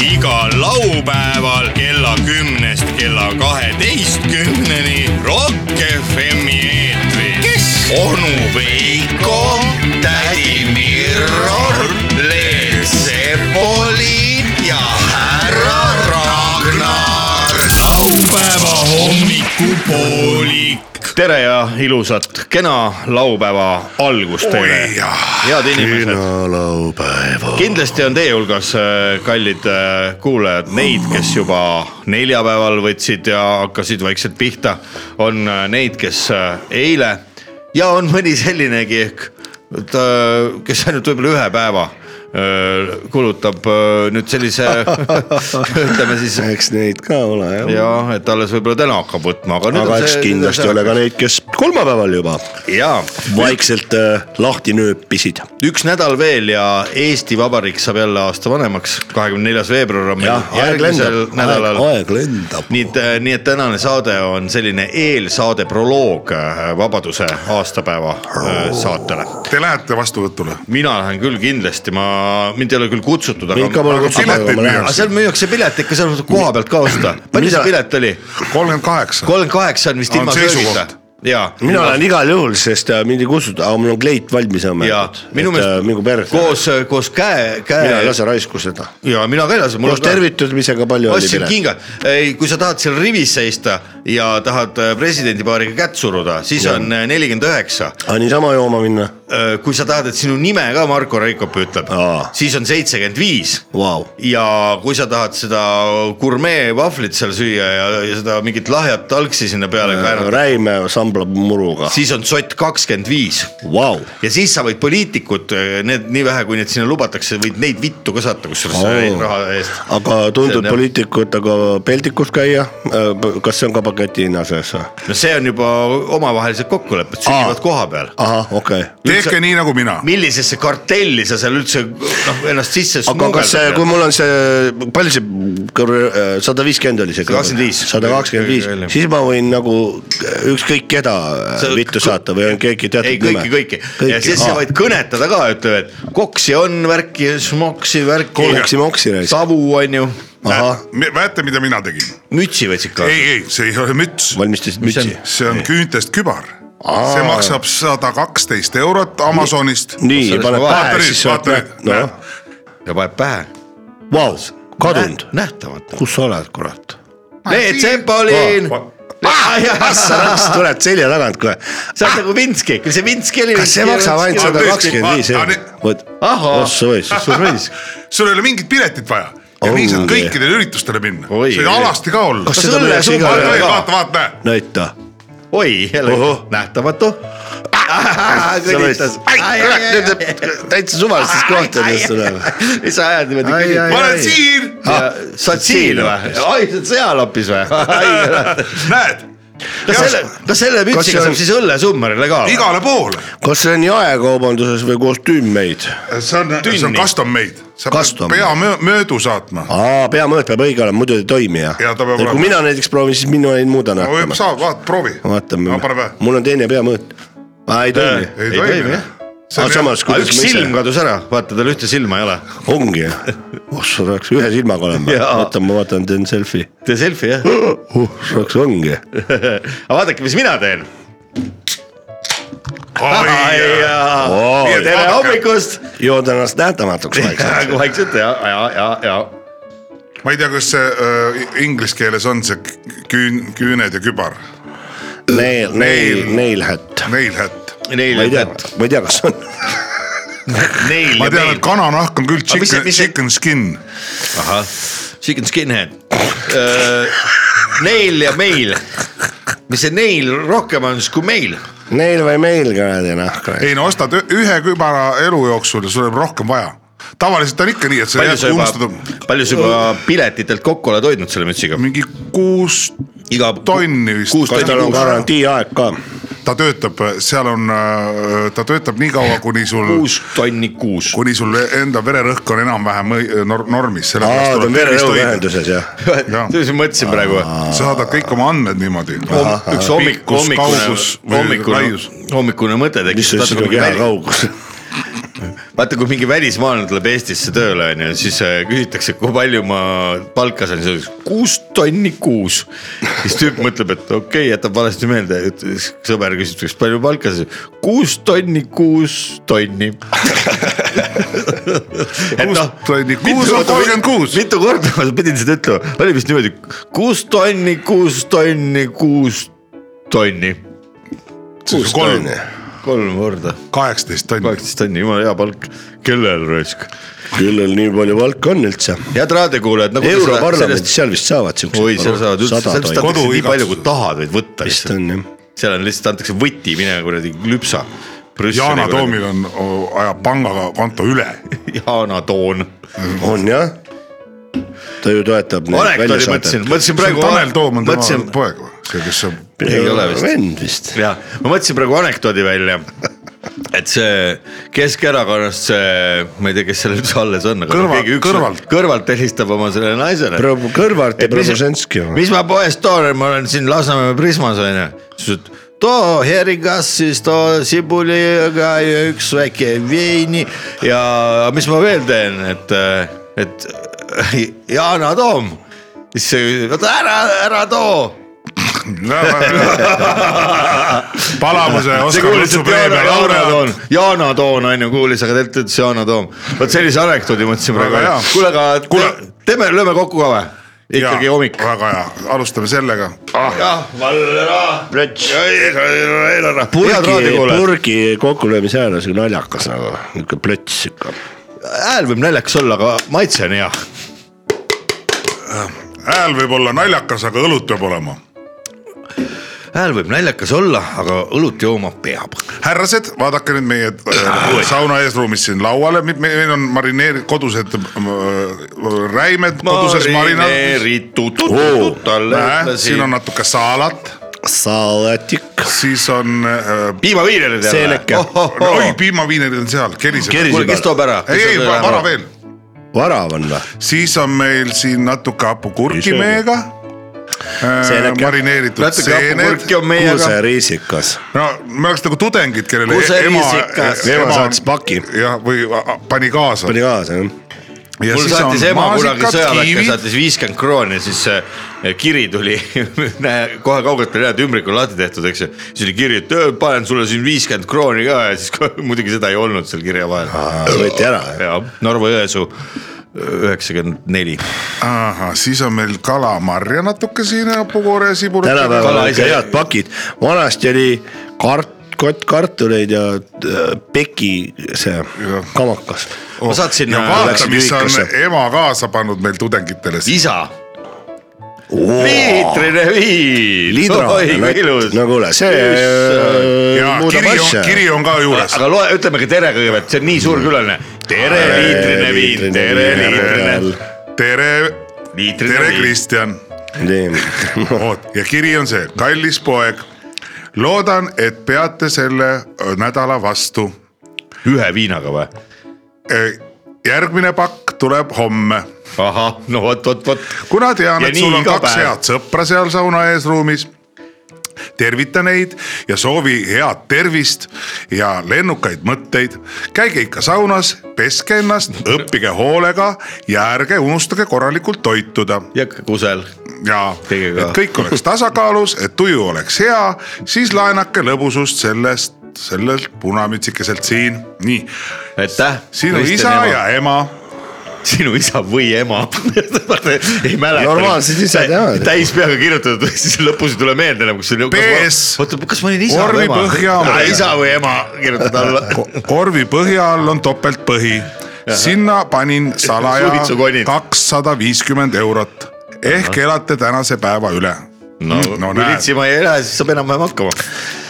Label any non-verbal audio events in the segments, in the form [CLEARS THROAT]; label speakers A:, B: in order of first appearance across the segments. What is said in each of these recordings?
A: igal laupäeval kella kümnest kella kaheteistkümneni Rock FM-i eetris . kes ? onu Veiko , tädi Mirror , Leel Sepoli ja härra Ragnar . laupäeva hommikupoolik .
B: tere ja ilusat kena laupäeva algust teile , head inimesed .
C: laupäeva .
B: kindlasti on teie hulgas , kallid äh, kuulajad , neid , kes juba neljapäeval võtsid ja hakkasid vaikselt pihta . on äh, neid , kes äh, eile ja on mõni sellinegi ehk , et äh, kes ainult võib-olla ühe päeva äh, kulutab äh, nüüd
C: [LAUGHS]
B: sellise ütleme siis
C: eks neid ka ole jah .
B: ja et alles võib-olla täna hakkab võtma , aga .
C: aga eks kindlasti ole ka neid , kes kolmapäeval juba
B: jaa ,
C: vaikselt äh, lahti nööpisid .
B: üks nädal veel ja Eesti Vabariik saab jälle aasta vanemaks , kahekümne neljas veebruar on meil
C: jah , aeg
B: järgmisel
C: lendab , aeg,
B: nädalal .
C: aeg lendab .
B: nii et , nii et tänane saade on selline eelsaade proloog äh, Vabaduse aastapäeva äh, saatele .
D: Te lähete vastuvõtule ?
B: mina lähen küll kindlasti , ma , mind ei ole küll kutsutud ,
C: mind ka
B: aga .
C: pole kutsutud ,
D: pileteid
C: aga
B: aga
C: ma lähen .
B: seal müüakse pilet ikka , seal saab koha pealt ka osta . palju see
C: Mida-
B: pilet oli ?
D: kolmkümmend kaheksa .
B: kolmkümmend kaheksa on vist
D: On
B: ilma
D: seisukoht.
B: söögita . jaa .
C: mina lähen igal juhul , sest äh, mind ei kutsuta , aga mul on kleit valmis
B: jaa ,
C: õmmeldud .
B: minu
C: mingu
B: meelest
C: äh, perre .
B: koos , koos käe ,
C: mina
B: käe
C: ei . lase raisku seda . Noh,
B: ja mina ka ei lase .
C: koos tervitamisega palju
B: ma
C: oli
B: ostsin
C: pilet .
B: kinga , ei , kui sa tahad seal rivis seista ja tahad äh, presidendipaariga kätt suruda , siis ja. on äh, nelikümmend üheksa .
C: aga niisama jooma minna ,
B: Äh, kui sa tahad , et sinu nime ka Marko Raikop ütleb
C: Aa. ,
B: siis on seitsekümmend viis
C: vau .
B: ja kui sa tahad seda gurmee vahvlit seal süüa ja, ja seda mingit lahjat talksi sinna
C: Äh,
B: peale kaevata ,
C: räime sambla muruga ,
B: siis on sott kakskümmend viis
C: vau .
B: ja siis sa võid poliitikud , need nii vähe , kui neid sinna lubatakse , võid neid vittu ka saata , kusjuures sa
C: Oo.
B: neid raha eest .
C: aga
B: See on
C: tuntud
B: jah.
C: poliitikutega peldikus käia , kas see on ka paketi hinna sees või ?
B: no see on juba omavahelised kokkulepped , sünnivad koha peal
C: ahah , okei okay. .
D: tehke nii nagu mina .
B: millisesse kartelli sa seal üldse noh ennast sisse
C: aga kas see , kui
B: smugeldad ?
C: mul on see , palju see , sada viiskümmend oli see ?
B: 125.
C: sada kakskümmend viis
B: Kõige hiljem. ,
C: siis ma võin nagu ükskõik keda
B: Sa-
C: vittu saata või on keegi teatud
B: ei kõiki , kõiki ja siis sa võid kõnetada ka , ütleme , et koksi on värki , smoksi värki ,
C: Koksi-moksi raisk.
B: savu on ju ,
C: ahah ,
D: näete , mida mina tegin ?
B: mütsi võid siit ka .
D: ei , ei , see ei ole müts ,
C: valmistasid
B: Mis see
C: mütsi
B: on? .
D: see on küüntest kübar .
C: Aa.
D: see maksab sada kaksteist eurot Amazonist .
C: nii ,
B: Selles
C: paned
B: ma
C: pähe ,
D: vaatan nüüd,
C: siis sa oled
D: vaatan
C: näht-
D: nüüd,
C: nojah ,
B: ja paneb pähe .
C: vau , kadunud .
B: nähtamatu .
C: kus sa oled , kurat ?
B: Leet Sepolin . Ah,
D: Ah,
B: sa
C: tuled selja tagant kohe .
B: oled nagu Vinski , küll see Vinski oli .
C: kas see maksab ainult
D: Ma-
C: sada
D: ma-
C: kakskümmend viis
D: ma-
C: eurot ?
B: Ahah.
C: ossa või , siis on raisk .
D: sul ei ole mingit piletit vaja ja nii saad
C: Ongi.
D: kõikidele üritustele minna .
B: Oi,
D: see on
B: oi.
D: alasti ka olla .
C: Kas
B: kas
C: seda
B: õlle
C: müüakse igal
B: suhkru
C: pool
D: vaata ,
B: ka ?
D: vaata , vaata , näe .
C: näita
B: oi , jälle
C: Ohoh. Ah,
B: nähtamatu . Ah, kõditas .
C: täitsa suvalistes kohtades tuleb .
B: mis sa ajad niimoodi
C: Ai,
B: kõditama
C: ai, ?
D: ma
C: ai.
D: olen siin ,
B: Ja sa oled siin Ah, või ? ai , sa oled seal hoopis [LAUGHS] või ?
D: [LAUGHS] näed ,
B: kas selle , kas selle
C: Kas see
B: mütsiga
C: on-
B: saab siis õllesummarile ka ?
D: igale poole .
C: kas see on jaekaubanduses või kostüümmeid ?
D: see on , see on
B: Tünni. Ah,
D: custom made , sa
C: Custom.
D: pead pea möö- möödu saatma .
C: aa , peamõõt peab õige olema , muidu ei toimi jah ?
D: Jaa, ta peab
C: kui
D: olema.
C: mina näiteks proovin , siis minu ei muuda nähtama .
D: saab , vaata , proovi .
C: vaatame
D: ma panen vähe .,
C: mul on teine peamõõt . aa , ei toimi .
D: ei
B: Ei toimi,
D: toimi noh.
B: jah. Ah,
D: jah .
C: aga samas ,
B: aga
C: kuidas
B: üks
C: ma
B: silm
C: ise ,
B: kadus ära , vaata tal ühte silma ei ole .
C: ongi jah . ossa , saaks ühe silmaga olema .
B: Jaa.
C: vaata , ma vaatan , teen selfie .
B: tee selfie [LAUGHS] jah .
C: uh , saaks ongi .
B: aga vaadake , mis mina teen .
C: Oi.
B: tere hommikust .
C: jood ennast nähtamatuks vaikselt .
B: vaikselt ja , ja , ja , ja .
D: ma ei tea , kas see äh, inglise keeles on see k- küün- , küüned ja kübar ,
C: Neil , neil , neil hätt .
D: nail hat .
B: Neil
C: ma ei
B: ja
C: tea
B: Pett ,,
C: ma ei tea , kas on .
B: neil
D: ma
B: ja
D: tean ,
B: meil
D: et . kananahk on küll
B: Aga mis see-
D: chicken ,
B: mis see-
D: chicken skin .
B: ahah , chicken skinhead . Neil ja meil . mis see neil rohkem on siis kui meil ?
C: Neil või meil kuradi nahk .
D: ei no ostad ü- ühe kübara elu jooksul ja sul jääb rohkem vaja . tavaliselt on ikka nii , et sa
B: palju
D: jääd
B: sa juba
D: unustada ,
B: palju sa juba piletitelt kokku oled hoidnud selle mütsiga ?
D: mingi kuus ,
B: iga
D: tonni vist.
B: kuus
C: kas
B: tonni
C: tal on
B: kuus .
C: garantiiaeg ka ?
D: ta töötab , seal on , ta töötab nii kaua , kuni sul ,
B: kuus tonni kuus .
D: kuni sul enda vererõhk on enam-vähem õi- nor- normis .
C: aa , ta on vererõhuühenduses jah .
B: [LAUGHS]
D: jah.
B: selles ma mõtlesin praegu .
D: saadad kõik oma andmed niimoodi .
B: üks hommik , hommikune , hommikune , hommikune mõte
C: mis
B: tekkis .
C: sa ütlesid , keha kaugus ?
B: vaata , kui mingi välismaalane tuleb Eestisse tööle onju , siis äh, küsitakse , kui palju ma palka saan , siis öeldakse kuus tonni kuus . siis tüüp mõtleb , et okei okay, , jätab valesti meelde , et siis sõber küsib , kas palju palka sa saad , kuus tonni , kuus tonni . et
D: kuus
B: noh ,
D: tonni , kuus on kolmkümmend kuus .
B: mitu korda ma pidin seda ütlema , oli vist niimoodi kuus tonni , kuus tonni , kuus tonni ,
C: kuus
D: kolm.
C: tonni .
B: kolm korda ,
D: kaheksateist tonni .
B: kaheksateist tonni , jumala hea palk , kellel raisk .
C: küllal nii palju palka on üldse .
B: head raadiokuulajad nagu .
C: europarlamendis seal vist saavad siuksed .
B: oi , seal saavad üldse ,
C: sada
B: sellest
C: tonni .
B: antakse nii
D: Koduigatsus.
B: palju , kui tahad , võid võtta
C: vist
B: lihtsalt .
C: on jah .
B: seal on lihtsalt antakse võti , mine kuradi lüpsa .
D: Yana . Toomil on , ajab pangakonto üle .
B: Jaana Toon .
C: on jah . ta ju toetab .
B: anekdoodi mõtlesin , mõtlesin praegu .
D: Tanel Toom on tema
B: mõtlesin ,
D: poeg või , see , kes on
B: ei ole vist .
C: vend vist .
B: ja ma mõtlesin praegu anekdoodi välja , et see Keskerakonnast see , ma ei tea , kes seal üldse alles on , aga
D: Kõrval-
B: keegi üks
D: kõrvalt.
B: kõrvalt helistab oma sellele naisele .
C: Pro- Kõrvalt ja Proboženski või?
B: mis ma poest toon , ma olen siin Lasnamäe Prismas onju , siis ütles too herikass , siis too sibuliga ja üks väike veini ja mis ma veel teen , et , et [LAUGHS] Yana Toom , siis see , oota ära , ära too
D: [LAUGHS] palamuse
B: see
D: Oskar
B: kuulis , et
D: kutsub vee
B: Jaana , Jaana
D: peal
B: Toon
D: laureaat .,
B: Jaana Toon on ju kuulis , aga tegelikult ütles Jaana Toom . vot sellise anekdoodi mõtlesin
D: Väga
B: praegu
D: hea. .
B: kuule , aga
D: Kuule-
B: te- teeme , lööme kokku ka või ? ikkagi Ah, hommik .
D: väga hea , alustame sellega .
B: jah , valvera . head
C: purgi ,
B: raadiokuulajad ,
C: purgi kokkulöömise hääl on siuke naljakas nagu , niuke plöts siuke .
B: hääl võib naljakas olla , aga maitse on hea .
D: hääl võib olla naljakas , aga õlut peab olema .
B: hääl võib naljakas olla , aga õlut jooma peab .
D: härrased , vaadake nüüd meie äh,
B: Ah, Oi.
D: sauna eesruumis siin lauale , meil on marineer- , kodused äh, räimed , koduses marinaadis .
B: marineeritud , tuttud talle
D: siin on
B: ütlesin .
D: natuke saalat ,
C: salatik .
D: siis on äh,
B: piimaviinerid
C: Seeleke.
D: oi , piimaviinerid on seal , keriseb .
C: Keriseb.
B: kuule , Oh. kes toob ära ?
D: ei , ei , vara . Ah, veel ,
C: varav on või ?
D: siis on meil siin natuke hapukurki
C: Ei söögi.
D: meiega .
C: Seeneke.
D: marineeritud
B: natuke
D: seened
B: hapukõrki , on meiega .
C: kuuseriisikas .
D: no me oleks nagu tudengid , kellele e- ema
B: Kuserisikas. ,
C: Ema saatis paki.
D: jah , või a- a- pani kaasa .
C: pani kaasa jah ?
D: ja
B: mul
D: siis on
B: saatis ema kunagi
D: maasikad ,
B: sõjaväkke ,
D: kiivid ,
B: saatis viiskümmend krooni ja siis see kiri tuli [LAUGHS] näe, kohe kaugelt oli näha , et ümbrik on lahti tehtud , eks ju . siis oli kiri , et öö, panen sulle siin viiskümmend krooni ka ja siis kohe- [LAUGHS] muidugi seda ei olnud seal kirja vahel .
C: võeti ära .
B: ja Narva-Jõesuu üheksakümmend neli .
D: siis on meil kalamarja natuke siin hapukoore ja sibulit .
C: tänapäeval
B: Kala
C: on
B: ise-
C: ikka head pakid , vanasti oli kart- , kott kartuleid ja äh, peki see kamakas .
B: ma saatsin
D: Oh, ja
B: äh,
D: vaata ,
C: läksid
D: mis on
C: ühikasse.
D: ema kaasa pannud meil tudengitele .
B: isa .
D: Oh.
B: liitrine viin . oi kui ilus .
C: no
D: nagu
C: kuule , see äh,
D: ja
C: muudab
D: kiri on ,
C: asja .
D: kiri on ka juures .
B: aga loe , ütleme ka tere kõigepealt , see on nii suur külaline . tere , liitrine viin , tere , liitrine ,
D: tere ,
B: liitrine
D: tere ,
B: viin .
D: Kristjan
C: nii , [LAUGHS]
D: oot , ja kiri on see , kallis poeg , loodan , et peate selle öö, nädala vastu .
B: ühe viinaga või ?
D: järgmine pakk tuleb homme .
B: ahah , no vot , vot , vot .
D: kuna tean ,
B: Ja
D: et
B: nii
D: sul on
B: iga
D: kaks
B: päev.
D: head sõpra seal sauna ees ruumis , tervita neid ja soovi head tervist ja lennukaid mõtteid . käige ikka saunas , peske ennast , õppige hoolega ja ärge unustage korralikult toituda
B: ja k- kusel .
D: ja
B: Tege ka.
D: et kõik oleks tasakaalus , et tuju oleks hea , siis laenake lõbusust sellest , sellelt punamütsikeselt siin , nii .
B: aitäh .
D: sinu isa ema. ja . ema ,
B: sinu isa või ema . [LAUGHS] ei mäleta .
C: Normaalsed isad jah.
B: täis peaga kirjutatud , [LAUGHS] siis lõpus ei tule meelde enam , kus oli .
D: PS.
B: oota , kas ma olin isa
D: Orvi
B: või
D: põhja on
B: ema ?
D: põhja.
B: isa või ema , kirjutad alla .
D: [LAUGHS] korvi põhja all on topeltpõhi , sinna panin salaja
B: Suitsukonid.
D: kakssada viiskümmend eurot ehk elate tänase päeva üle .
B: no, no , kui litsima ei lähe , siis saab enam-vähem hakkama .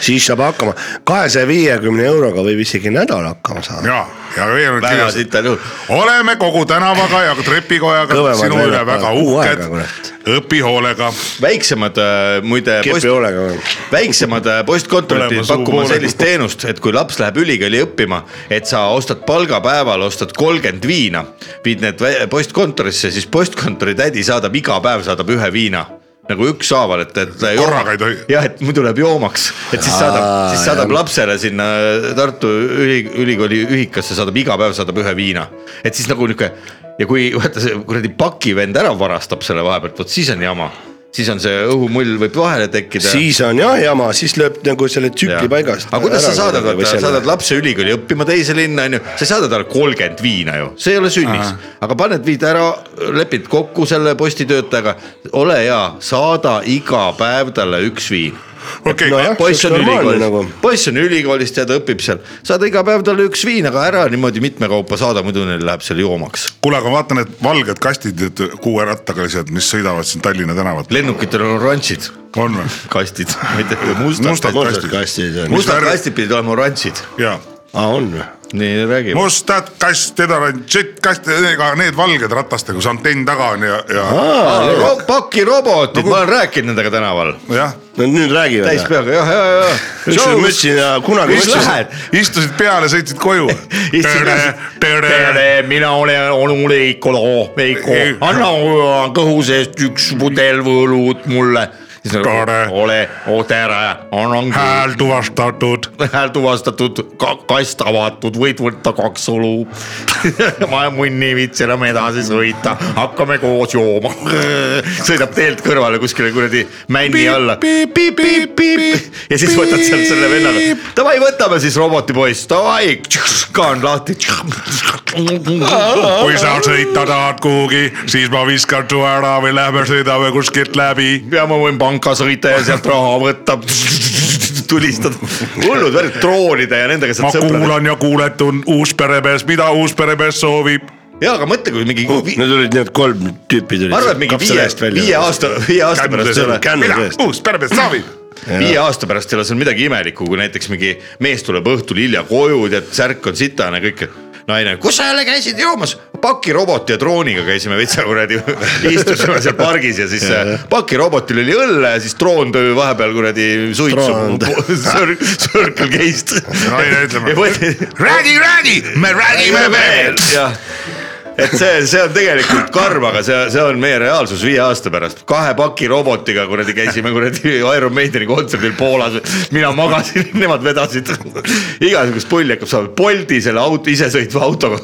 C: siis saab hakkama , kahesaja viiekümne euroga võib isegi nädal hakkama saada .
D: ja , ja veel on
B: väga
D: kirjas ,
B: sital juhul .
D: oleme kogu tänavaga
C: [LAUGHS]
D: ja trepikojaga
C: Kõvemad
D: sinu üle
C: vennad
D: väga
C: panevad kuu aega,
D: uhked
C: kurat. ,
D: õpi hoolega
B: väiksemad äh, muide .
C: kepi hoolega veel .
B: väiksemad äh, postkontorid
D: Mõlema
B: pidid
D: suu
B: pakkuma
D: poole.
B: sellist teenust , et kui laps läheb ülikooli õppima , et sa ostad palgapäeval , ostad kolmkümmend viina , viid need vä- postkontorisse , siis postkontori tädi saadab iga päev , saadab ühe viina nagu ükshaaval , et , et .
D: Korraga ei tohi.
B: jah , et muidu läheb joomaks , et siis saadab , siis saadab lapsele sinna äh, Tartu üli, ülikooli ühikasse saadab iga päev saadab ühe viina , et siis nagu nihuke ja kui [LAUGHS] vaata see kuradi pakivend ära varastab selle vahepealt , vot siis on jama , siis on see õhumull võib vahele tekkida
C: siis on jah jama , siis lööb nagu selle tsükli
B: Jah.
C: paigast .
B: aga kuidas sa saadad , vaata , saadad lapse ülikooli õppima teise linna , onju , sa ei saada talle kolmkümmend viina ju , see ei ole sünnis . aga paned viid ära , lepid kokku selle postitöötajaga , ole hea , saada iga päev talle üks viin .
D: okei ,
C: nojah.
B: poiss
C: see
B: on
C: oleks normaalne
B: ülikoolis
C: nagu.
B: nagu. , poiss on ülikoolis , tead , õpib seal , saada iga päev talle üks viin , aga ära niimoodi mitmekaupa saada , muidu neil läheb seal joomaks .
D: kuule , aga ma vaatan , et valged kastid , et kuuerattalised , mis sõidavad siin Tallinna tänavat .
B: lennukitel on oranžid
D: on või ?
B: kastid , [LAUGHS] ma ei tea , mustad,
D: Mustad
B: mustad ,
D: kastid.
C: kastid on .
B: mustad
D: värvi-
B: kastid pidid olema oranžid ,
D: jaa .
C: aa , on või ?
B: nii räägime .
D: mustad kastid , oranžid kastid , ega need valged ratastega , kus antenn taga on ja , ja
B: Ro- pakirobotid , ma olen rääkinud nendega tänaval ,
D: jah ,
C: no nüüd räägi
B: täis
C: veel .
B: peaga , jah , ja , ja ,
C: ükskord ma
B: ja .
C: ütlesin ja kunagi
B: kus
C: ma ütlesin ,
B: lähed ?
D: istusid peale , sõitsid koju . tere , tere .
B: tere , mina olen onu Leiko , Leiko , anna oma kõhu seest üks pudel võlut mulle .
D: Tore.
B: ole , tere , annan
D: hääl tuvastatud .
B: hääl tuvastatud , kast avatud , võid võtta kaks õlu . [LAUGHS] ma ja munni ei viitsi enam edasi sõita , hakkame koos jooma . [LAUGHS] sõidab teelt kõrvale kuskile kuradi männi alla . ja siis võtad sealt selle vennaga , davai , võtame siis robotipoiss , davai , kaan lahti .
D: kui sa sõita tahad kuhugi , siis ma viskan su ära või lähme sõidame kuskilt läbi .
B: ja ma võin panka sõita ja sealt raha võtta , tulistada , hullud värvid , troonida ja nendega
D: ma
B: saad sõpradeks .
D: kuulan ja kuuletun uus peremees , mida uus peremees soovib .
B: ja aga mõtle , kui mingi vi-
C: need olid need kolm tüüpi tulid .
B: ma arvan , et mingi viie , viie . aasta , viie aasta
D: Kännu
B: pärast ei ole
D: sees. ,
C: kännu
D: mida
C: seest.
D: uus peremees soovib ?
B: viie aasta pärast ei ole seal midagi imelikku , kui näiteks mingi mees tuleb õhtul hilja koju , tead , särk on sitane , kõik . naine , kus sa jälle käisid joomas ? pakiroboti ja drooniga käisime veitsa kuradi , [LAUGHS] istusime seal pargis ja siis äh, pakirobotil oli õlle ja siis droon tõi vahepeal kuradi [LAUGHS]
C: Droon.
B: suitsu , Circle K-st .
D: naine ütleb , räägi , räägi , me räägime veel .
B: jah , et see , see on tegelikult karm , aga see , see on meie reaalsus viie aasta pärast . kahe paki robotiga kuradi käisime kuradi Iron Maideni kontserdil Poolas , mina magasin , nemad vedasid . igasugust pulli hakkab saama , Bolti selle auto , [LAUGHS] isesõitva autoga ,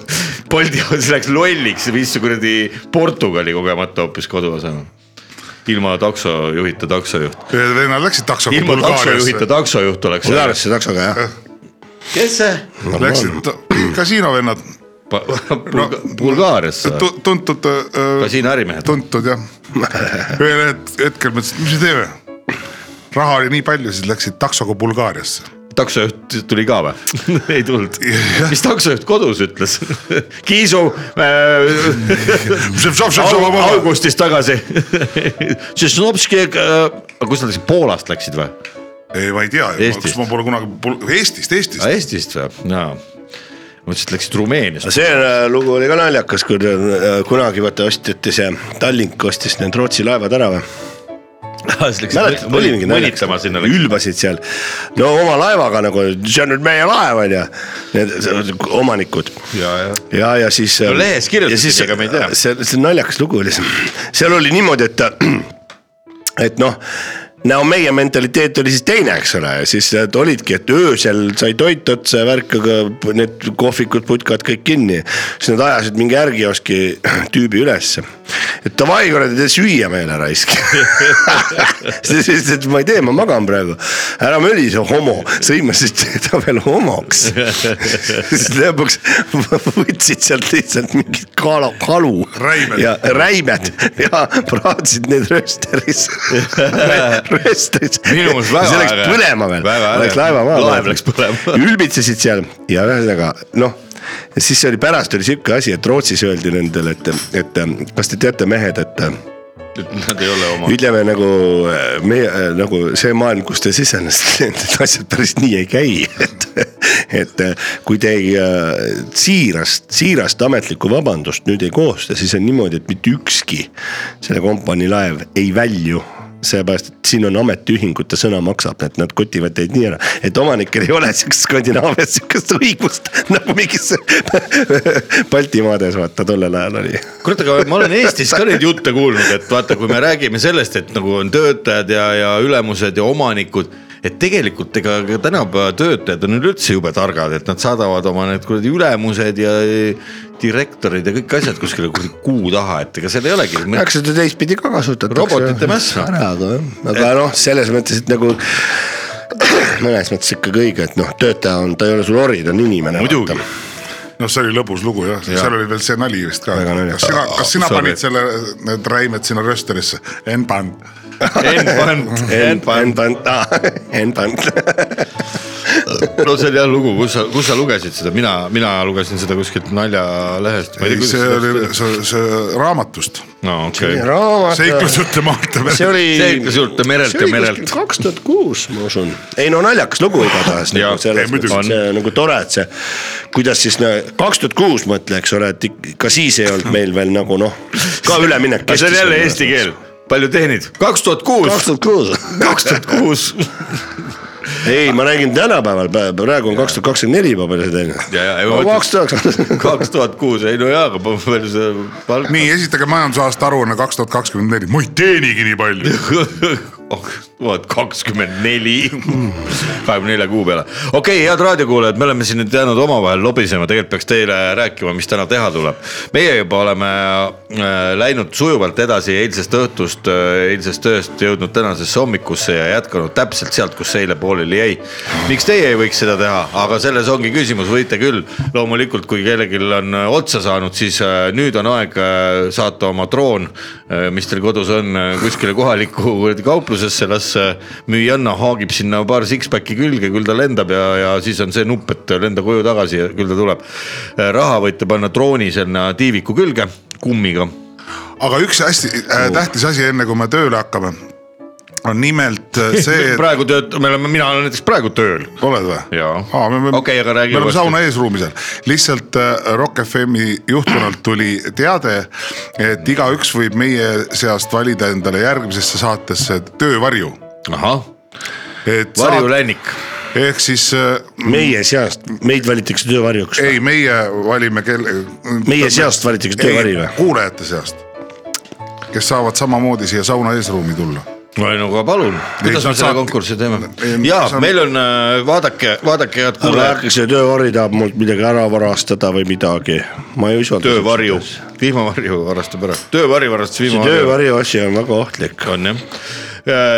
B: Bolti , see läks lolliks , viis kuradi Portugali kogemata hoopis kodu asema ilma taksojuhita taksojuht ,
D: ühed vennad läksid taksoga
B: ilma taksojuhita
D: Bulgaariasse ,
B: taksojuht oleks .
C: Bulgaariasse taksoga jah .
B: kes see ?
D: läksid ta- kasiinovennad ,
B: [LAUGHS] Bulgaariasse või ?
D: tu- tuntud .
B: kasiinoärimehed.
D: tuntud jah , ühel het- hetkel mõtlesid , mis me teeme raha oli nii palju , siis läksid taksoga Bulgaariasse .
B: taksojuht tuli ka või ? [LAUGHS] ei tulnud . mis taksojuht kodus ütles ? [LAUGHS] Kiisu [LAUGHS] äh, au- augustis [LAUGHS] tagasi . Tšesnovski , kus nad läksid , Poolast läksid või ?
D: ei , ma ei tea ,
B: Eestist.
D: kas ma pole kunagi , Eestist , Eestist .
B: Eestist või ? jaa . mõtlesin , et läksid Rumeeniast .
C: see äh, lugu oli ka naljakas , kui äh, kunagi vaata osteti see , Tallink ostis need Rootsi laevad ära või
B: siis
C: mäletad , oli mingi
B: mõnitama sinna .
C: ülbasid seal . no oma laevaga nagu , see on nüüd meie laev on ju , need see- omanikud .
B: ja , ja .
C: ja , ja siis . no
B: lehes kirjutati, ega me ei tea.
C: see , see naljakas lugu oli , seal oli niimoodi , et , äh, et noh no meie mentaliteet oli siis teine , eks ole , siis et olidki , et öösel sai toit otsa ja värk , aga need kohvikud , putkad kõik kinni . siis nad ajasid mingi ärgioski tüübi ülesse . et davai kuradi , tee süüa meile raisk . [LAUGHS] siis ta ütles , et ma ei tee , ma magan praegu . ära mölise , homo , [LAUGHS] sõimasid teda veel homoks . [LAUGHS] siis lõpuks [LAUGHS] võtsid sealt lihtsalt mingit kala , kalu .
D: Räimed.
C: ja räimed ja praadsid need röösteris , röösteris .
B: Minu meelest väga
C: see läks
B: äge.
C: põlema veel ,
B: Väga äge.
C: läks laeva maha .
B: Laev läks põlema.
C: [LAUGHS] ülbitsesid seal ja ühesõnaga noh , siis oli pärast oli sihuke asi , et Rootsis öeldi nendele , et , et kas te teate mehed , et
B: Nad ei ole oma .
C: ütleme nagu äh, meie äh, nagu see maailm , kus te sisenesite , [LAUGHS] need asjad päris nii ei käi , [LAUGHS] et , et äh, kui te ei äh, siirast , siirast ametlikku vabandust nüüd ei koosta , siis on niimoodi , et mitte ükski selle kompanii laev ei välju sellepärast et siin on ametiühingute sõna maksab , et nad kotivad teid nii ära , et omanikel ei ole siukest Skandinaavias siukest õigust nagu mingis [LAUGHS] Baltimaades vaata tollel ajal oli .
B: kurat , aga ma olen Eestis ka neid jutte kuulnud , et vaata , kui me räägime sellest , et nagu on töötajad ja , ja ülemused ja omanikud , et tegelikult ega ka tänapäeva töötajad on üleüldse jube targad , et nad saadavad oma need kuradi ülemused ja direktorid ja kõik asjad kuskile kuradi kuu taha , et ega seal ei
D: [LAUGHS]
B: olegi .
C: eks seda teistpidi ka kasutatakse .
B: Robotite mässa.
C: ära , aga , aga noh , selles mõttes , et nagu [COUGHS] mõnes mõttes ikkagi õige , et noh , töötaja on , ta ei ole sul ori , ta on inimene .
B: Muidugi.
D: noh , see oli lõbus lugu jah ja. , seal oli veel see nali vist ka .
C: Väga naljakas.
D: kas sina , kas sina
B: Sorry.
D: panid selle , need räimed sinna röösterisse ? en pannud .
B: N-pant , N-pant ,
C: [LAUGHS] N-pant , N-pant .
B: no see oli jah lugu , kus sa , kus sa lugesid seda , mina , mina lugesin seda kuskilt naljalehest .
D: ei , see oli , see , see raamatust .
B: no okei okay. ,
C: raamat .
D: seiklusjutte maalt .
C: see oli .
B: [LAUGHS] Seikles juurde merelt ja merelt .
C: kaks tuhat kuus , ma usun . ei no naljakas lugu igatahes
B: Jaa,
C: nagu selles
D: ei, muidugi.
C: mõttes , et see on nagu tore , et see , kuidas siis kaks tuhat kuus mõtle , eks ole , et ik- ka siis ei olnud meil veel nagu noh , ka üleminek .
B: aga see on jälle eesti keel , palju teenid ? kaks tuhat
C: kaks
B: kuus .
C: tuhat kuus .
B: kaks tuhat kuus .
C: ei , ma räägin tänapäeval , praegu on kaks tuhat kakskümmend neli juba palju see
B: Ja, ja, ei,
C: teine
B: ma . mõtlen-
C: kaks tuhat .
B: kaks tuhat kuus , ei no jaa , aga palju see palk .
D: nii , esitage majandusaasta aruanne kaks tuhat kakskümmend neli , ma ei teenigi nii palju .
B: tuhat kakskümmend neli , kahekümne nelja kuu peale . okei okay, , head raadiokuulajad , me oleme siin nüüd jäänud omavahel lobisema , tegelikult peaks teile rääkima , mis täna teha tuleb . meie juba oleme äh, läinud sujuvalt edasi eilsest õhtust , eilsest ööst jõudnud tänasesse hommikusse ja jätkanud täpselt sealt , kus see eile pooleli jäi . miks teie ei võiks seda teha , aga selles ongi küsimus , võite küll . loomulikult , kui kellelgi on äh, otsa saanud , siis äh, nüüd on aeg äh, saata oma droon , mis teil kodus on , kuskile kohalikku kuradi kauplusesse , las äh, müüjanna haagib sinna paar six-pack'i külge , küll ta lendab ja , ja siis on see nupp , et lenda koju tagasi ja küll ta tuleb . raha võite panna drooni sinna tiiviku külge , kummiga .
D: aga üks hästi äh,
B: Oh.
D: tähtis asi , enne kui me tööle hakkame , on nimelt äh,
B: [LAUGHS]
D: see , et
B: praegu tööt- , me oleme , mina olen näiteks praegu tööl .
D: oled või ?
B: Jaa. Okei, aga räägi
D: me oleme
B: uuesti.
D: sauna eesruumis seal , lihtsalt äh, Rock FM-i juhtkonnalt tuli teade , et igaüks võib meie seast valida endale järgmisesse saatesse töövarju .
B: ahah ,
D: et
B: Varju
D: saad-
B: Lännik ,
D: ehk siis äh,
C: meie seast , meid valitakse töövarjuks .
D: ei , meie valime kelle .
C: meie seast valitakse töövari või ?
D: kuulajate seast , kes saavad samamoodi siia sauna eesruumi tulla
B: no ei no aga palun , kuidas
D: sa
B: me selle
D: saad-
B: konkursi teeme
D: ei, ?
B: jaa
D: sa- ,
B: meil on , vaadake , vaadake head
C: kuule ,
B: kuulajad ,
C: äkki see töövari tahab mult midagi ära varastada või midagi , ma ei usalda .
B: töövarju , vihmavarju varastab ära , töövari varastas
C: see
B: vihmavarju .
C: töövarju asi on väga ohtlik .
B: on jah ,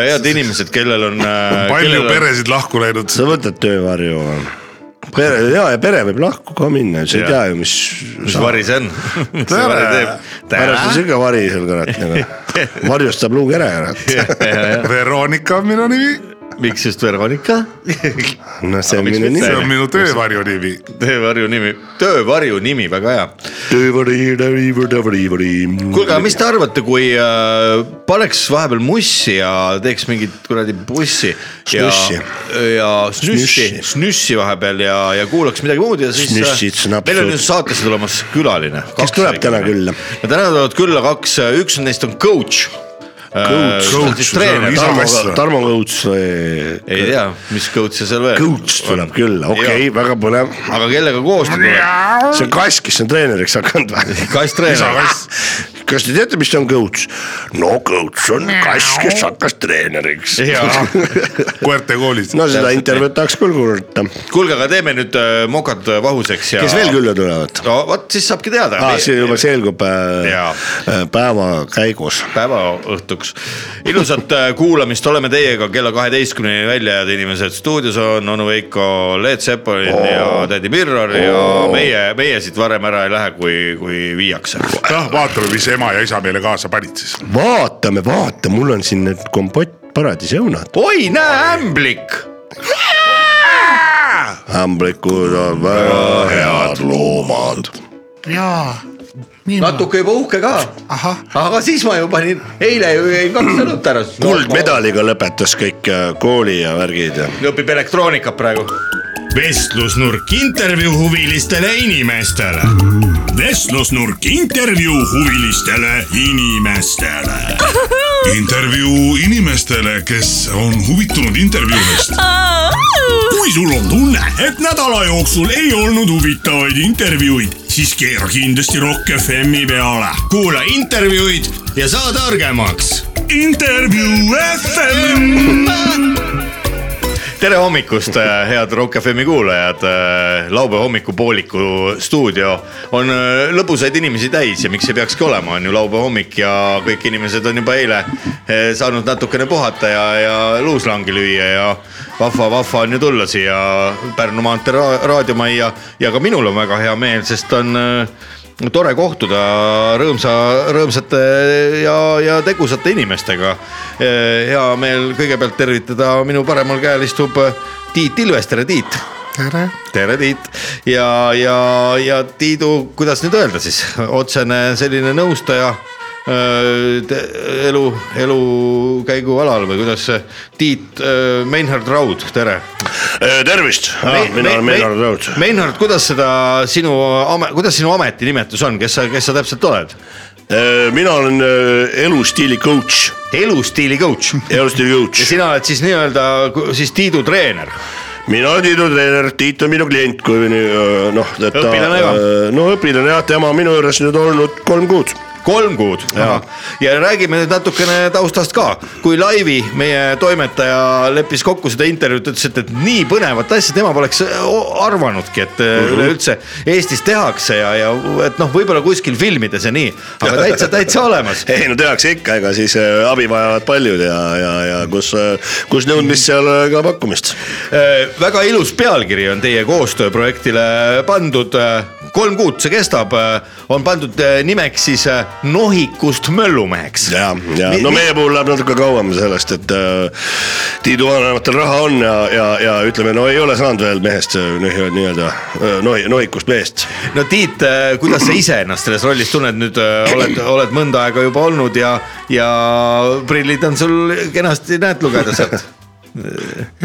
B: head inimesed , kellel on .
D: [LAUGHS] palju . peresid lahku läinud .
C: sa võtad töövarju ? pere , ja , ja pere võib lahku ka minna , sa ei
B: Jah.
C: tea ju , mis .
B: mis vari see on ? mis see vari teeb ?
C: pärast on siuke vari seal kurat
B: [LAUGHS]
C: nagu , varjustab luukere kurat . [LAUGHS]
D: Veronika on minu nimi ,
B: miks just Veronika ? [LAUGHS]
C: noh , see on
B: miks
C: minu
B: mitte?
D: see
C: nimi .
D: on minu töövarju nimi .
B: töövarju nimi , töövarju nimi , väga hea .
C: töövari , töövari , töövari .
B: kuulge , aga mis te arvate , kui äh, paneks vahepeal mussi ja teeks mingit kuradi bussi ja
C: Snussi. ,
B: ja snüssi
C: Snussi. ,
B: snüssi vahepeal ja , ja kuulaks midagi muud ja siis .
C: Snüssid, snapsud.
B: meil on nüüd saatesse tulemas külaline .
C: tuleb täna külla?
B: no täna tulevad külla kaks , üks neist on coach . Äh,
C: Coach.
B: coach ,
D: Coach, see on isa-
B: treener ,
D: Kasla.
C: Tarmo Kõuts või ?
B: ei tea , mis coach see seal veel .
C: Kõuts tuleb külla , okei , väga põnev .
B: aga kellega koos ta tuleb ?
C: see on kass , kes on treeneriks hakanud
B: [LAUGHS]
C: või ?
B: kass treener ,
C: kas te teate , mis on kõuts ? no kõuts on kass , kes hakkas treeneriks .
B: Jaa.
D: koerte koolis .
C: no seda intervjuud tahaks küll kuulata .
B: kuulge , aga teeme nüüd äh, mokad äh, vahuseks ja .
C: kes veel ? Ah, külla tulevad ?
B: no vot , siis saabki teada
C: aa , see juba selgub äh,
B: Jaa.
C: äh, päeva käigus .
B: päevaõhtuks . ilusat äh, kuulamist , oleme teiega kella kaheteistkümneni välja , head inimesed . stuudios on onu Veiko , Leet Sepolin oh. ja tädi Mirror oh. ja meie , meie siit varem ära ei lähe , kui , kui viiakse .
D: noh , vaatame , mis ema ja isa meile kaasa panid siis .
C: vaatame , vaata , mul on siin need kompott paradiisõunad .
B: oi , näe , ämblik .
C: ämblikud on väga head loomad .
E: jaa , nii ma ,
B: natuke juba uhke ka .
E: ahah ,
B: aga siis ma ju panin , eile ju jäi kaks sõnut ära .
C: kuldmedaliga lõpetas kõik äh, kooli ja värgid ja .
B: õpib elektroonikat praegu .
A: vestlusnurk intervjuu huvilistele inimestele . vestlusnurk intervjuu huvilistele inimestele .
F: intervjuu inimestele , kes on huvitunud intervjuudest .
G: kui sul on tunne , et nädala jooksul ei olnud huvitavaid intervjuuid , siis keera kindlasti Rock FM-i peale .
A: kuula intervjuud ja saa targemaks .
F: intervjuu FM .
B: tere hommikust , head Rock FM-i kuulajad . laupäeva hommikupooliku stuudio on äh, lõbusaid inimesi täis ja miks ei peakski olema , on ju laupäeva hommik ja kõik inimesed on juba eile eh, saanud natukene puhata ja , ja luuslangi lüüa ja vahva , vahva on ju tulla siia Pärnu maantee ra- raadiomajja ja ka minul on väga hea meel , sest on äh, tore kohtuda rõõmsa , rõõmsate ja , ja tegusate inimestega . hea meel kõigepealt tervitada , minu paremal käel istub Tiit Ilves , tere Tiit .
E: tere .
B: tere Tiit ja , ja , ja Tiidu , kuidas nüüd öelda siis , otsene selline nõustaja öö, te- elu , elukäigu alal või kuidas see , Tiit öö, Meinhard Raud , tere
C: Äh, tervist , Ah, mina olen Meinar Raud .
B: Meinhard , kuidas seda sinu , kuidas sinu ametinimetus on , kes sa , kes sa täpselt oled ?
C: Äh, mina olen eh, elustiili coach ,
B: elustiili coach .
C: elustiili
B: ja
C: coach .
B: sina oled siis nii-öelda ku- siis Tiidu treener .
C: mina olen Tiidu treener , Tiit on minu klient , kui või nii, eh, noh .
B: Õpilane ka.
C: no õpilane jah , tema on minu juures nüüd olnud kolm kuud .
B: kolm kuud ja. ja räägime nüüd natukene taustast ka . kui Laivi , meie toimetaja , leppis kokku seda intervjuud , ütles , et , et nii põnevat asja tema poleks äh, o- arvanudki , et äh,
C: Mhm.
B: üleüldse Eestis tehakse ja , ja et noh , võib-olla kuskil filmides ja nii ,
C: [LAUGHS]
B: aga täitsa , täitsa olemas .
C: ei no tehakse ikka , ega siis eh, abi vajavad paljud ja , ja , ja kus , kus nõudmist , seal eh, ka pakkumist .
B: Eh, väga ilus pealkiri on teie koostööprojektile pandud . kolm kuud see kestab , on pandud äh, nimeks siis äh, nohikust möllumeheks .
C: ja , ja no meie puhul läheb natuke kauem sellest , et äh, Tiidu vanematel raha on ja , ja , ja ütleme , no ei ole saanud veel mehest äh, nii- nii-öelda äh, noi- , noikust meest .
B: no Tiit , kuidas sa ise ennast selles rollis tunned , nüüd äh, oled , oled mõnda aega juba olnud ja , ja prillid on sul kenasti , näed lugeda
C: [LAUGHS]
B: sealt .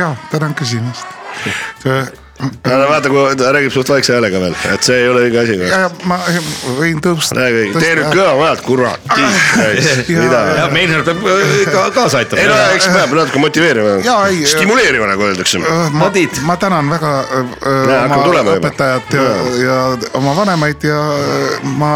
E: ja tänan küsimast . Äh,
C: ära vaata , kui ta räägib suht vaikse häälega veel , et see ei ole õige asi .
E: ja ma võin tõusta .
C: räägi , tee nüüd kõvama häält , kurat .
B: ja
C: ei
B: Meinhard peab äh, ka kaasa
C: no
B: aitama .
C: eks peab natuke motiveerima
E: Jaa, , ei-
C: stimuleerima nagu öeldakse .
E: ma
B: Madid. ,
E: ma tänan väga äh,
C: Näe, hakkab tulema
E: oma
C: juba.
E: õpetajat ja, ja oma vanemaid ja äh, ma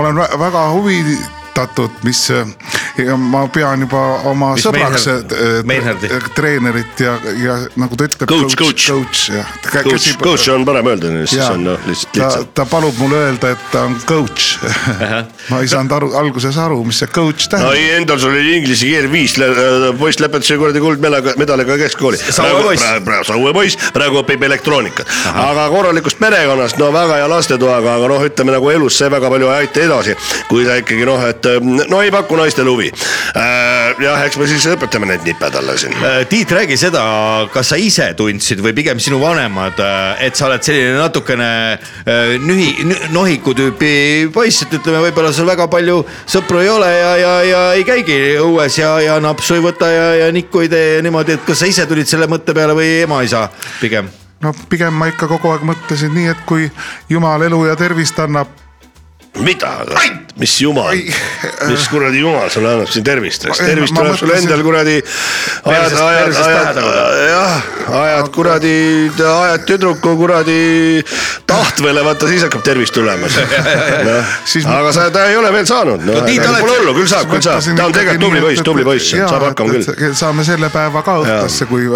E: olen vä- väga huvitatud , mis äh, ja ma pean juba oma
B: Mis
E: mis sõbraks
B: Meinhard-
E: äh,
B: Meinhardi?
E: äh, treenerit ja , ja nagu ta ütleb .
C: Coach, coach.
E: coach jah .
C: Coach , coach on parem öelda , siis
E: Jaa.
C: on noh , lihtsalt
E: ta
C: lihtsam .,
E: ta palub mulle öelda , et ta on coach . [LAUGHS] ma ei saanud aru , alguses aru , mis see coach
C: no
E: tähendab .
C: ei , endal sul oli inglise keel viis , poiss lõpetas ju kuradi kuldmedaliga , medaliga keskkooli .
B: Saue poiss.
C: Saue poiss , praegu õpib elektroonikat , aga korralikust perekonnast , no väga hea lastetoaga , aga noh , ütleme nagu elus see väga palju ei aita edasi , kui sa ikkagi noh , et mm, no ei paku naistele huvi . jah , eks me siis õpetame need niped alla siin .
B: Äh, Tiit , räägi seda , kas sa ise tundsid või pigem sinu vanemad , et sa oled selline natukene äh, nühi , nohiku tüüpi poiss , et ütleme , võib-olla sul väga palju sõpru ei ole ja , ja , ja ei käigi õues ja , ja napsu ei võta ja , ja nikku ei tee ja niimoodi , et kas sa ise tulid selle mõtte peale või ema-isa pigem ?
E: no pigem ma ikka kogu aeg mõtlesin nii , et kui jumal elu ja tervist annab ,
C: mida , mis jumal , mis kuradi jumal sulle annab siin tervist , eks
E: Ma-
C: tervis
E: ma
C: tuleb sulle
E: mõtlesin-
C: endal kuradi . ajad ,
B: Persest-
C: ajad ,
B: persest
C: ajad
B: pähe , tuleb.
C: jah , ajad kuradi , ajad tüdruku kuradi tahtvele , vaata siis hakkab tervis
E: [LAUGHS]
C: tulema .
E: Siis ma-
C: aga sa , ta ei ole veel saanud , no
B: Tiit,
C: aga
B: oled-
C: nagu pole hullu , küll saab , küll saab ,
E: mõtlesin
C: ta on
E: ikkagi
C: tegelikult
E: nii,
C: tubli
E: et-
C: poiss , tubli poiss ,
E: jaa,
C: saab hakkama
E: et-
C: küll .
E: et saame selle päeva ka õhtusse , kui .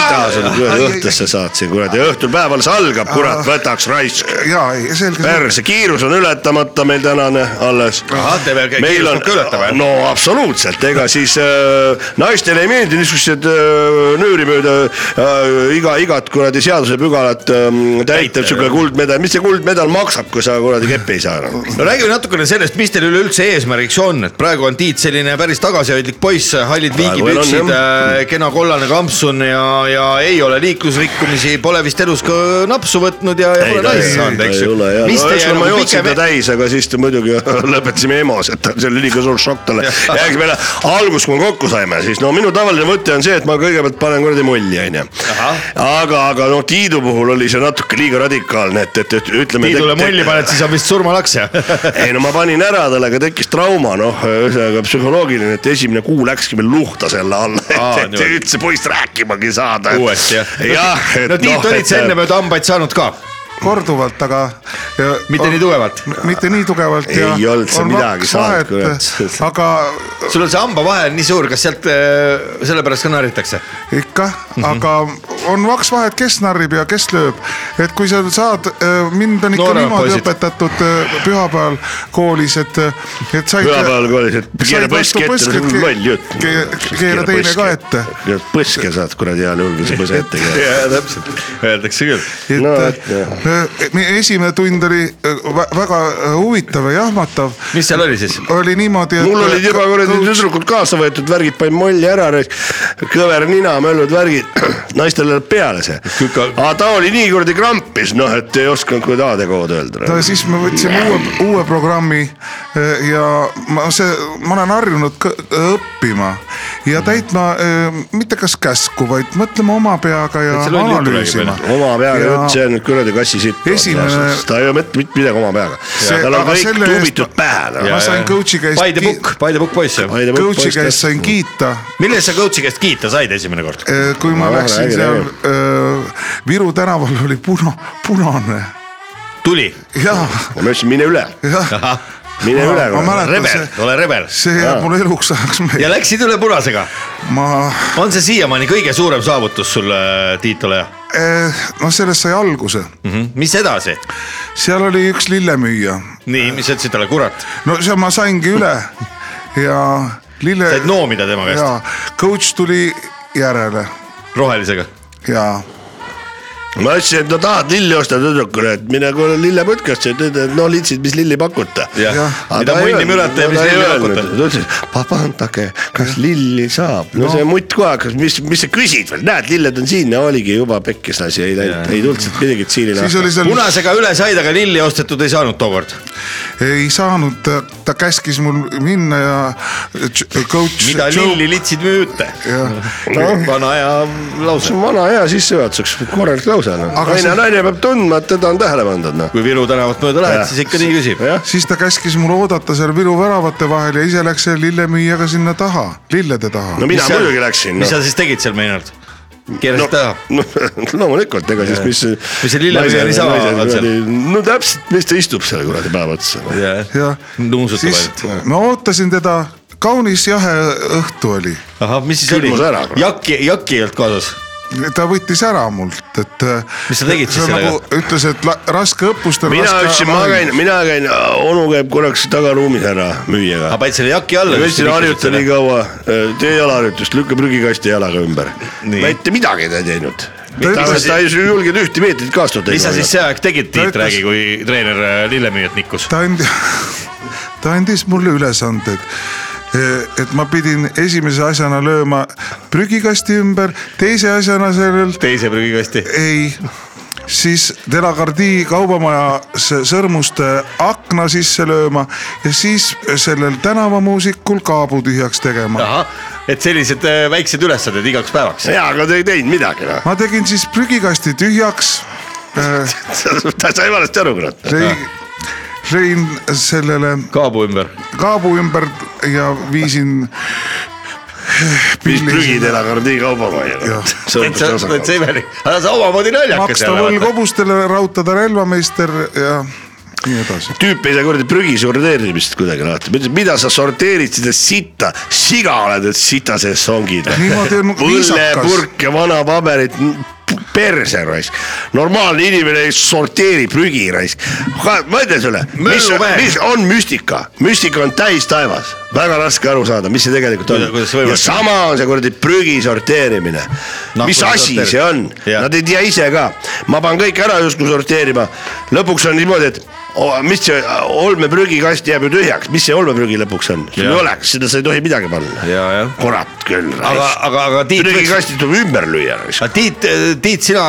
C: mida sa nüüd ühe õhtusse saad siin kuradi , õhtul päeval see algab ,
E: Ah.
C: kurat , võtaks raisk
E: ja ei , selge .
C: perse , kiirus on ületamata meil tänane alles .
B: Ahah, te veel kiirust peate ületama, jah?
C: no absoluutselt , ega siis äh, naistele ei meeldi niisugused äh, nüürimööda äh, iga , igat kuradi seadusepügalat äh, täita , sihuke kuldmedal , mis see kuldmedal maksab , kui sa kuradi keppi ei saa noh? enam
B: no räägime natukene sellest , mis teil üleüldse eesmärgiks on , et praegu on Tiit selline päris tagasihoidlik poiss , hallid
C: Praegu veel on,
B: viigipüksid
C: jah. ,
B: kena kollane kampsun ja , ja ei ole liiklusrikkumisi , pole vist elus ka napsu võtnud ja , ja
C: ei ,
B: pole
C: ta
B: naisi
C: ei
B: saanud , eks ju
C: ole . jah .
B: mis teie
C: ühesõnaga ma
B: nagu
C: jootsin
B: pikem
C: ta , täis , aga siis ta muidugi [LAUGHS] lõpetasime EMO-s , et see oli liiga suur šokk
B: [LAUGHS]
C: talle . ja eks meile algus , kui me kokku saime , siis no minu tavaline mõte on see , et ma kõigepealt panen kuradi mulli , onju . aga , aga noh , Tiidu puhul oli see natuke liiga radikaalne , et , et , et ütleme .
B: Tiidule mulli paned , siis on vist surmalaks
C: [LAUGHS]
B: jah ?
C: ei no ma panin ära talle , aga tekkis trauma , noh , ühesõnaga psühholoogiline , et esimene kuu läkski meil luhta selle alla ,
B: Aa,
C: [LAUGHS] et , et
B: niimoodi.
C: üldse poist rääkimagi saada .
B: uuesti jah ?
C: jah , et
B: no Tiit , olid sa enne mööda hambaid saanud ka ?
E: korduvalt , aga .
B: Mitte
C: Oh.
B: nii tugevalt. .
E: mitte nii tugevalt .
C: Ei olnud sa midagi saanud, kurat.
E: aga
B: sul on see hambavahe on nii suur , kas sealt äh, sellepärast ka narritakse ?
E: ikka ,
C: Mhm.
E: aga on vaks vahet , kes narrib ja kes lööb . et kui sa saad , mind on ikka
B: Nooremad
E: niimoodi
B: poisid.
E: õpetatud öö, pühapäeval koolis , et , et said .
C: pühapäeval koolis , et keera
E: said vastu
C: põske ette , see on
E: põsket,
C: loll jutt
E: ke- . ke- keera teine ka ette. .
C: põske saad kuradi heal juhul , kui sa põse ette keerad .
B: jaa , täpselt , öeldakse küll .
E: et
C: No,
E: no,
C: et jah.
E: meie esimene tund oli öö, vä- väga öö, huvitav ja jahmatav .
B: mis seal oli siis ?
E: oli niimoodi , et . äh,
C: mul olid juba kuradi tüdrukud kaasa võetud värgid , panin molli ära , kõver nina , möllud värgid , [CLEARS THROAT] naistel läheb peale see .
B: Küka-
C: aga ta oli nii kuradi krampis , noh , et ei osanud kuradi A-tekood öelda .
E: no siis me võtsime uue , uue programmi eh, ja ma see , ma olen harjunud kõ- õppima
C: Mhm.
E: ja täitma eh, mitte kas käsku , vaid mõtlema oma peaga ja
B: Et see loll jutt
E: analüüsima
B: tuleb .
C: oma peaga jutt , see on nüüd kuradi kassi sitt .
E: Esimene-
C: ta ei ole mitte mitte midagi oma peaga .
E: See-
C: tal on
E: aga
C: kõik
E: selle eest-
C: tuubitud pähe noh.
E: ma sain coach'i käest
B: By the
E: ki-
B: book , by the book poiss jah .
C: Ai, ta peab
E: coach'i
C: poiss
E: käest sain kiita ,
B: millest sa coach'i käest kiita said esimene kord ?
E: kui ma
C: No,
E: läksin
C: räägi,
E: seal eh, Viru tänaval oli puna , punane
B: tuli ,
E: ja ,
C: ja ma ütlesin , mine üle ,
E: jah ,
C: mine
E: Ma-
C: üle
E: ma . mäletan-
B: rebel
E: See- ,
B: ole rebel .
E: see jääb mul eluks ajaks
B: ja
E: meelde ,
B: läksid üle punasega .
E: ma
B: on see siiamaani kõige suurem saavutus sul , äh, Tiit , ole hea
E: eh, noh , sellest sai alguse ,
B: mm . -hmm. mis edasi ?
E: seal oli üks lillemüüja
B: nii , mis sa ütlesid talle , kurat ,
E: no seal ma saingi üle ja lille .
B: said noomida tema käest
E: ja coach tuli järele
B: rohelisega .
E: ja
C: ma ütlesin , et no tahad lilli osta tüdrukule , et mine kuule lillepõtkasse , ta ütleb , et no litsid , mis lilli pakute .
B: jah
E: Jah. ,
B: mida munni mürata ja mis lilli hakutada .
C: ta ütles , papa andage , kas lilli saab , no see mutt kohe hakkas , mis , mis sa küsid veel , näed , lilled on siin ja oligi juba pekkis asi , ei läinud , ei tulnud sealt midagi , et siin ei
E: siis
C: lähe .
E: oli seal ,
B: punasega üle said , aga lilli ostetud ei saanud tookord .
E: ei saanud , ta käskis mul minna ja tš- coach .
B: mida lilli litsid müüte ? vana hea
C: see
B: lause .
C: on vana hea sissejuhatuseks , korralik lause on .
E: Aga
C: naine ,
E: siis-
C: naine peab tundma , et teda on tähele pandud , noh .
B: kui Viru tänavat mööda lähed
C: Jah. ,
B: siis ikka nii küsib .
C: jah ,
E: siis ta käskis mul oodata seal Viru väravate vahel ja ise läks selle lillemüüjaga sinna taha , lillede taha
C: no . mina muidugi läksin . noh.
B: mis sa siis tegid seal meie arvates ? keerasid no. taha ?
C: no [LAUGHS] loomulikult , ega siis mis .
B: Mis see lillepea nii sama on seal? ?
C: no täpselt , mis ta istub seal kuradi päev otsa . noh.
E: ja
B: nuusutab
E: siis
B: ainult .
E: ma ootasin teda , kaunis jahe õhtu oli
B: ahah , mis siis oli
C: Külmus ära, ? kurat.
B: jakki , jakki ei olnud kaasas .
E: ta võttis ära mult , et .
B: Mis sa tegid siis sellega?
E: ütles , et la, raske õppustel .
C: mina ütlesin , ma käin , mina käin , onu käib korraks tagaruumis ära müüjaga
B: aga . panid selle jaki alla .
C: ma ütlesin , harjuta nii . kaua , tee jalaharjutust , lükka prügikasti jalaga ümber .
B: Nii.
C: mitte midagi ta ei teinud .
E: ütles-
C: ta ta ei julgenud ühte meetrit kaasa teha .
B: mis sa siis see aeg tegid ,
E: Ta
B: Tiit ,
E: ütles-
B: räägi , kui treener äh, lillemüüjat nikkus .
E: ta andis , [LAUGHS] ta andis mulle ülesanded . et ma pidin esimese asjana lööma prügikasti ümber , teise asjana sellel
B: teise prügikasti .
E: ei , siis Delagardi kaubamaja s- sõrmuste akna sisse lööma ja siis sellel tänavamuusikul kaabu tühjaks tegema .
B: ahah , et sellised äh, väiksed ülesanded igaks päevaks .
C: jaa , aga ta ei teinud midagi noh . [LAUGHS]
E: ma tegin siis prügikasti tühjaks e,
C: ta sai valesti aru , kurat .
E: lõi , lõin sellele
B: kaabu ümber .
E: kaabu ümber ja viisin .
C: viis prügi telakardi kaubamajja
E: Jah. .
B: täitsa , täitsa imelik , aga sa omamoodi naljakas
E: maksta võlg . hobustele , rautada relvameister ja nii edasi .
C: tüüp ei saa kuradi prügi sorteerimist kuidagi lahti , ma ütlesin , mida sa sorteerid seda sitta , siga oled , et sita sees songid .
E: Niimoodi on viisakas.
C: õllepurk ja vana paberit , perse raisk , normaalne inimene ei sorteeri prügi raisk . ma ütlen sulle , mis on ,
B: Möllumäe.
C: mis on müstika , müstika on täis taevas , väga raske aru saada , mis see tegelikult on
B: Kuida- kuidas see . võimalik
C: ja
B: on?
C: sama on see kuradi prügi sorteerimine
B: Nahku
C: no, , mis asi
B: sorteerid.
C: see on ,
B: Jah.
C: nad ei tea ise ka , ma panen kõik ära justkui sorteerima , lõpuks on niimoodi , et mis see olmeprügikast jääb ju tühjaks , mis see olmeprügi lõpuks on , sul
B: Jah.
C: ei oleks , sinna sa ei tohi midagi panna .
B: ja , jah .
C: kurat küll ,
B: aga , aga , aga Tiit ,
C: prügikastid tuleb ümber lüüa .
B: aga Tiit , Tiit , sina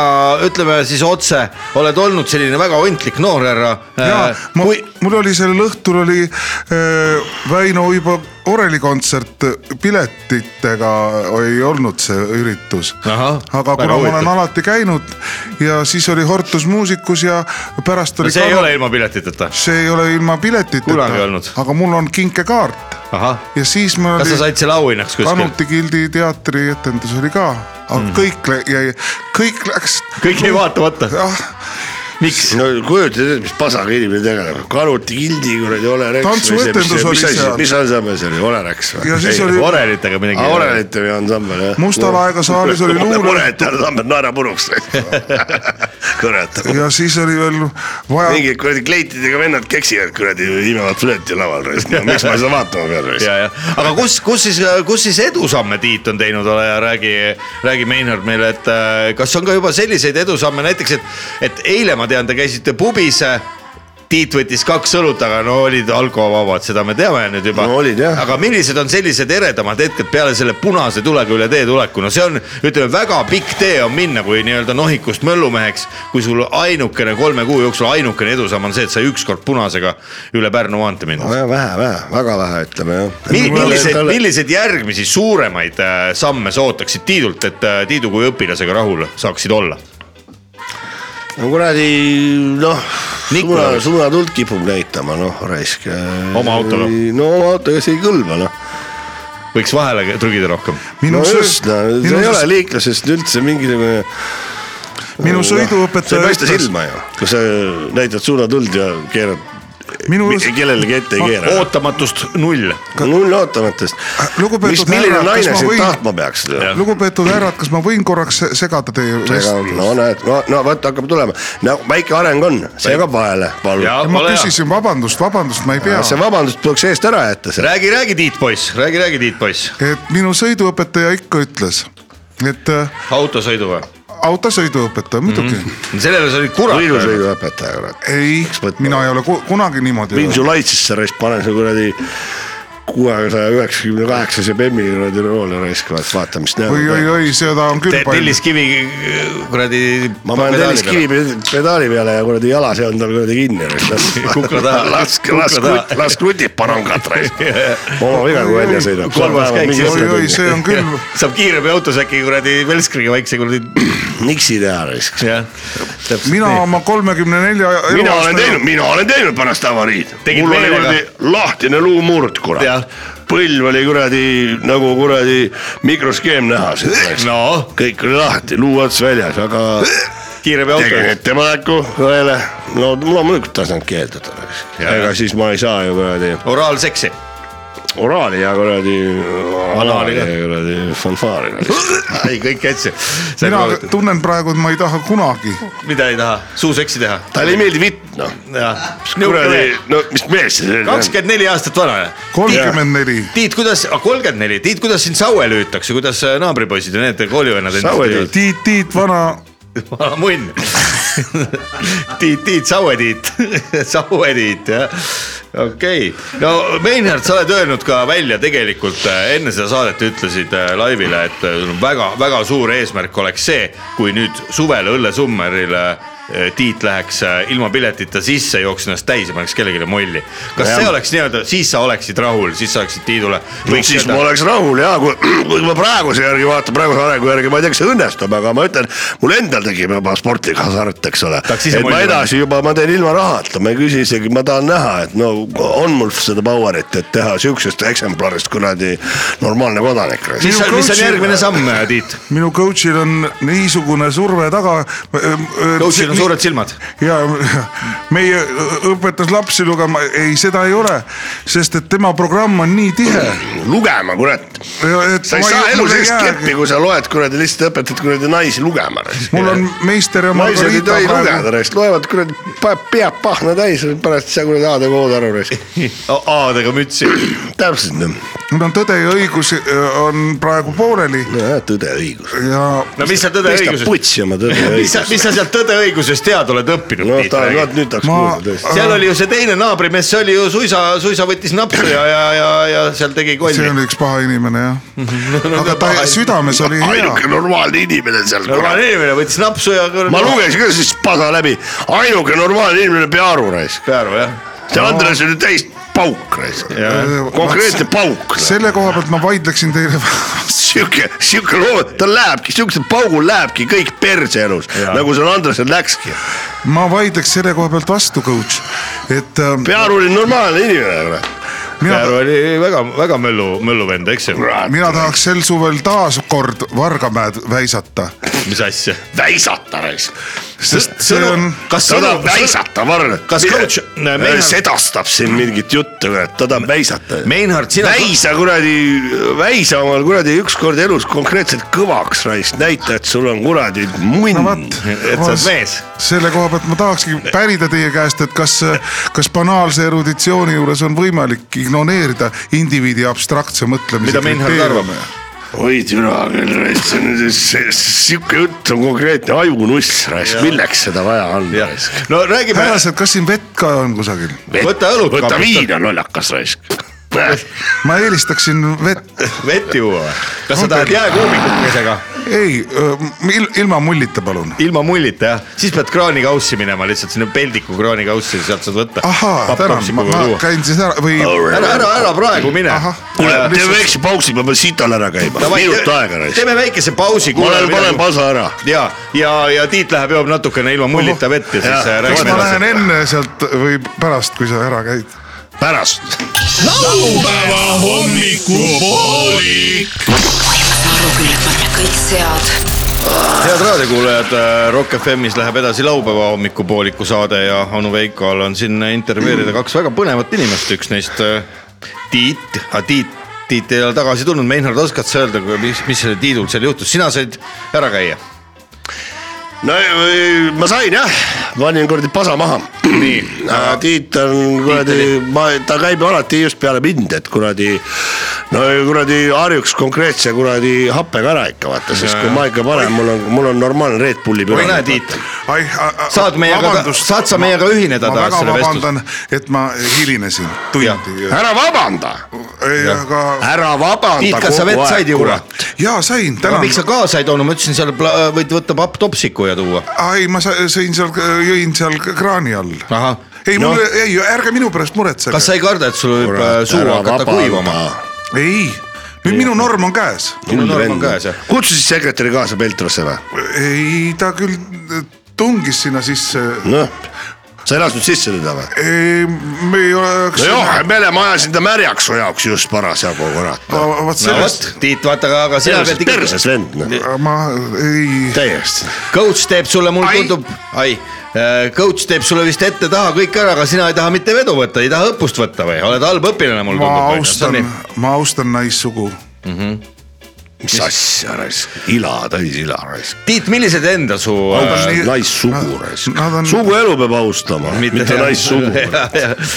B: ütleme siis otse , oled olnud selline väga äh, ontlik noorhärra .
E: jaa , ma , mul oli sellel õhtul oli äh, Väino Uibo oreli kontsert , piletitega ei olnud see üritus .
B: Ahah,
E: aga
B: väga
E: kuna ma
B: huvitav.
E: olen alati käinud ja siis oli Hortus muusikus ja pärast oli .
B: see ei ole ilma piletiteta .
E: see ei ole ilma piletiteta
B: Kunagi olnud. ,
E: aga mul on kinkekaart
B: ahah ,
E: ja siis meil
B: kas
E: oli
B: sa said selle auhinnaks kuskil ? Mhm.
E: Kanuti Gildi teatrietendus oli ka , aga mm. kõik lä- jäi , kõik läks , ah,
B: kõik jäi vaatamata .
E: jah ,
B: miks ?
C: no kujuta ette , mis pasaga inimene tegeleb , karuti kildi kuradi olereks .
E: Tantsuetendus oli seal.
C: mis ansambel see oli , olereks või ?
E: ja siis
B: ei ,
E: oli
B: orelitega midagi .
C: Orelit oli ansambel jah .
E: Musta Laega saalis oli luule-
C: Orelit ansambel , naera puruks . kurat ,
E: ja siis oli veel vaja ,
C: mingid kuradi kleitidega vennad keksivad kuradi imevat flööti laval , miks ma seda vaatama pean .
B: ja , ja , aga kus , kus siis , kus siis edusamme Tiit on teinud , ole hea , räägi , räägi Meinhard meile , et äh, kas on ka juba selliseid edusamme , näiteks et , et eile ma tean , te käisite pubis . Tiit võttis kaks õlut , aga no olid alkovabad , seda me teame nüüd juba .
C: No olid, jah.
B: aga millised on sellised eredamad hetked peale selle punase tulega üle tee tuleku , no see on , ütleme , väga pikk tee on minna , kui nii-öelda nohikust möllumeheks , kui sul ainukene kolme kuu jooksul ainukene edusamm on see , et sa ükskord punasega üle Pärnu maantee minna .
C: vähe , vähe , väga vähe , ütleme jah
B: Mi- milliseid , milliseid järgmisi suuremaid äh, samme sa ootaksid Tiidult , et äh, Tiidu kui õpilasega rahul saaksid olla ?
C: no kuradi noh ,
B: Nikulas.
C: suuna , suunatuld kipub näitama , noh raisk .
B: Oma autoga.
C: no oma autoga see ei kõlba noh .
B: võiks vahele trügida rohkem .
E: minu
C: no just , no see
E: sõi- minu
C: ei ole
E: sõi-
C: liiklusest üldse mingisugune .
E: minu sõiduõpetaja
C: see ei paista
E: ütles-
C: silma ju , kui sa näitad suunatuld ja keerad
E: Minu
C: Mi-
E: arust-
C: kellelegi ette ei keera .
B: ootamatust null .
C: null ootamatest .
E: Lugupeetud
C: mis , milline
E: härra, kas
C: naine
E: ma
C: sind
E: võin-
C: tahtma peaks ?
E: lugupeetud härrad , kas ma võin korraks se- segada teie
C: no
E: vestlust ?
C: näed , no , no vot hakkab tulema , no väike areng on , segab vahele ,
B: Ja.
C: palun .
E: ma
B: Ole hea.
E: küsisin vabandust , vabandust , ma ei pea .
C: see vabandust tuleks eest ära jätta , see
B: räägi , räägi , Tiit poiss , räägi , räägi , Tiit poiss .
E: et minu sõiduõpetaja ikka ütles , et äh,
B: autosõidu või ?
E: autosõiduõpetaja muidugi
C: Mhm.
E: mm . -hmm.
B: sellele sa olid kurat .
C: liiklusõiduõpetaja , kurat .
E: ei
C: võtma? ,
E: mina ei ole ku- kunagi niimoodi
C: viin
E: öelnud .
C: su laitsisse raisk , panen su kuradi kuuesaja üheksakümne kaheksase bemmi kuradi roole raisk , vaata mis näo .
E: oi , oi , oi , seda on küll
B: teed
E: palju .
B: telliskivi äh, kuradi .
C: ma panen telliskivi . pe- pedaali peale ja kuradi jala seon tal kuradi kinni .
B: [LAUGHS] Kukla taha.
C: las ,
B: Kukla
C: las
B: taha. ,
C: las krutib parangat raisk .
B: [LAUGHS]
C: oma viga , kui välja sõidab .
B: Kolmas käik siis.
E: oi , oi , see on küll ,
B: [LAUGHS] saab kiirabiautos äkki kuradi velskriga väikse kuradi .
C: niksi teha raisk .
B: jah , täpselt
E: mina
B: nii .
E: oma kolmekümne nelja .
C: mina olen teinud , mina olen teinud pärast avariid .
B: Tegid
C: mul oli
B: meelega?
C: kuradi lahtine luumurd ,
B: Jah.
C: kurat . põlv oli kuradi nagu kuradi mikroskeem nähas , et raisk
B: no
C: kõik oli lahti , luu ots väljas , aga tegin
B: kiirabiauto .
C: ettepaneku õele . no loomulikult tasan keelduda , eks .
B: Jaa,
C: ega
B: jah.
C: siis ma ei saa ju kuradi
B: oraalseksi .
C: oraali ja kuradi
B: Anaali
C: anaali
B: ka.
C: ja kuradi
B: [LAUGHS]
C: fanfaari .
B: ei , kõik hästi .
E: mina tunnen praegu , et ma ei taha kunagi
B: mida ei taha , suuseksi teha .
C: talle ei meeldi vitt , noh . kuradi
B: kuradi ,,
C: no mis mees see on ?
B: kakskümmend neli aastat vana .
E: kolmkümmend neli .
B: Tiit , kuidas , kolmkümmend neli , Tiit , kuidas sind Saue lüütakse , kuidas äh, naabripoisid ja need koolivennad
C: Saue
B: endast
E: Tiit , Tiit , vana ,
B: [LAUGHS] teevad ? munn . Tiit , Tiit , Saue Tiit , [LAUGHS] Saue Tiit , jah . okei okay. , no Meinhard , sa oled öelnud ka välja tegelikult äh, enne seda saadet ütlesid äh, laivile , et äh, sul on väga-väga suur eesmärk oleks see , kui nüüd suvel õllesummerile äh, Tiit läheks äh, ilma piletita sisse , jooks ennast täis ja paneks kellelegi molli . kas see oleks nii-öelda , siis sa oleksid rahul , siis sa oleksid Tiidule .
C: siis ma oleks rahul ja kui, [CLEARS THROAT] kui ma praeguse järgi vaatan , praeguse arengu järgi , ma ei tea , kas see õnnestub , aga ma ütlen , mul endal tekib juba sportlik hasart , eks ole .
B: Tahaks ise
C: et ma
B: molli
C: edasi juba , ma teen ilma rahata , ma ei küsi isegi , ma tahan näha , et no on mul seda power'it , et teha siuksest eksemplarist kuradi normaalne kodanik .
B: mis on , mis on
E: coach'i-
B: järgmine samm , Tiit ?
E: minu coach'il on niisugune surve taga .
B: coach'il on suured . [LAUGHS] silmad .
E: ja meie õpetas lapsi lugema , ei , seda ei ole , sest et tema programm on nii tihe .
C: lugema , kurat . sa ei saa elu sellist keppi , kui sa loed kuradi lihtsalt õpetad kuradi naisi lugema .
E: mul on meister ja
C: naised ei
E: Margarita
C: tohi lugeda
E: praegu ,
C: raisk , loevad kuradi , paneb pead pahna täis , pärast ei saa kuradi A-d ja K-d aru raisk .
B: A-dega mütsi .
C: täpselt , noh.
E: no tõde ja õigus öö, on praegu pooleli
C: nojah , tõde ja õigus .
E: ja
B: no mis sa tõde
C: paistab
B: õigusest ,
C: putsi oma tõde ja
B: mis sa ,
C: õigus .
B: mis sa sealt tõde õigusest tead oled õppinud
C: no
B: Tiit,
C: ta ,
B: räägi?
C: nüüd tahaks
E: Ma-
C: kuulda tõesti .
B: seal oli ju see teine naabrimees , see oli ju suisa , suisa võttis napsu ja , ja , ja , ja seal tegi
E: see
B: kolli .
E: on üks paha inimene jah . aga ta südames oli hea .
C: ainuke normaalne inimene seal .
B: normaalne inimene võttis napsu ja .
C: ma . lugesin ka siis paga läbi , ainuke normaalne inimene Pearu raisk .
B: Pearu jah ,
C: see Andres oli täis pauk raisk , konkreetne pauk .
E: selle koha pealt ma vaidleksin teile [LAUGHS]
C: sihuke , sihuke loo , ta lähebki , sihukese paugul lähebki kõik perse elus , nagu seal Andresel läkski .
E: ma vaidleks selle koha pealt vastu , coach , et ähm,
C: Pearu oli normaalne inimene , kurat .
E: mina ,
B: Pearu oli väga , väga möllu , mölluvend , eks ju ,
E: mina tahaks sel suvel taas kord Vargamäed väisata ,
B: mis asja .
C: väisata raisk ,
E: sest see on ,
B: kas
C: ta
B: sõna
C: tahab , väisata varre .
B: Kas coach- näe, meil-
C: sedastab siin mingit juttu , kurat , ta tahab väisata .
B: Meinhard , sina .
C: väisa kuradi , väisa omal kuradi ükskord elus konkreetselt kõvaks raisk , näita , et sul on kuradi
E: no
C: munn
E: vot .
B: Mm, et sa oled mees .
E: selle koha pealt ma tahakski pärida teie käest , et kas , kas banaalse eruditsiooni juures on võimalik ignoreerida indiviidi abstraktse mõtlemise
B: mida Meinhard arvab ??
C: oi türa küll raisk , see on see- see- sihuke jutt on konkreetne ajunuss raisk , milleks seda vaja on
B: jah
C: raisk .
B: no räägime ,
E: härrased , kas siin vett ka on kusagil ?
B: Võta õlut
C: võta
B: kapist.
C: viina , lollakas raisk .
E: ma eelistaksin vett ,
B: vett juua või ? kas sa tahad jääkuumikukesega ?
E: ei , ilma mullita palun .
B: ilma mullita jah , siis pead kraanikaussi minema lihtsalt sinna peldiku kraanikaussi , sealt saad võtta .
E: ahaa , tänan , ma, ma käin siis ära või
B: ära , ära , ära praegu mine . Äh,
E: Ahah.
C: kuule , teeme väikse pausi , ma pean sital ära käima , minut aega raisk .
B: teeme väikese pausi .
C: ma lähen panen pasa ära .
B: ja , ja , ja Tiit läheb joob natukene ilma mullita vett ja siis äh,
C: Jaa.
E: kas
B: räägime
E: ma lähen
B: edasi .
E: enne sealt või pärast , kui sa ära käid ?
C: pärast .
G: laupäeva hommikupoolik .
H: Aruküllapõlle kõik sead .
B: head raadiokuulajad , Rock FM-is läheb edasi laupäeva hommikupooliku saade ja onu Veikol on siin intervjueerida kaks väga põnevat inimest , üks neist äh, Tiit , Tiit , Tiit ei ole tagasi tulnud , Meinhard , oskad sa öelda , mis , mis sellel Tiidul seal juhtus , sina said ära käia .
C: no ei, ma sain jah , panin kuradi pasa maha . [CLEARS THROAT] nii . Tiit on kuradi , ma , ta käib ju alati just peale mind , et kuradi no kuradi harjuks konkreetse kuradi happega ära ikka vaata , sest kui ma ikka panen , mul on , mul on normaalne Red Bulli
B: ole hea , Tiit . Saad
E: saad
B: meiega- saad sa meiega ühineda
E: ma
B: tahad
E: väga
B: selle
E: vabandan , et ma hilinesin tundi .
C: ära vabanda ,
E: ei , aga
C: ära vabanda .
B: Tiit , kas sa vett said juua ?
E: jaa , sain , tänan
B: miks . sa kaasa ei toonud , ma ütlesin , seal pla- võid võtta papptopsiku ja tuua .
E: ei , ma sa- sõin seal , jõin seal kraani all .
B: Ahah.
E: ei ,
B: Noh.
E: mul , ei , ärge minu pärast muretsege .
B: kas sa ei karda , et sul võib äh, suu hakata kuivama ??
E: ei , nüüd minu norm on käes .
B: mul norm on käes jah .
C: kutsu siis sekretäri kaasa Peltrosse või ?
E: ei , ta küll tungis sinna sisse .
C: noh , sa elasid sisse teda või ?
E: ei , me ei ole .
C: nojah , me oleme ajasin ta märjaks su jaoks just parasjagu , kurat .
E: vot
B: no
E: sellest
B: vot , Tiit , vaata , aga , aga sina pead ikka ,
C: perses vend , noh ,
E: ma ei ,
C: täiesti .
B: coach teeb sulle , mulle
E: Ai.
B: tundub , ai , coach teeb sulle vist ette-taha kõik ära , aga sina ei taha mitte vedu võtta , ei taha õppust võtta või , oled halb õpilane , mulle
E: ma
B: tundub
E: austan ., ma austan naissugu
C: mis asja raisk , ila täis ila raisk .
B: Tiit , millised enda su ? äh,
E: nii-
C: naissugu
E: nad-
C: raisk
E: nad on- ,
C: suguelu peab austama , mitte
B: [LAUGHS]
C: naissugu .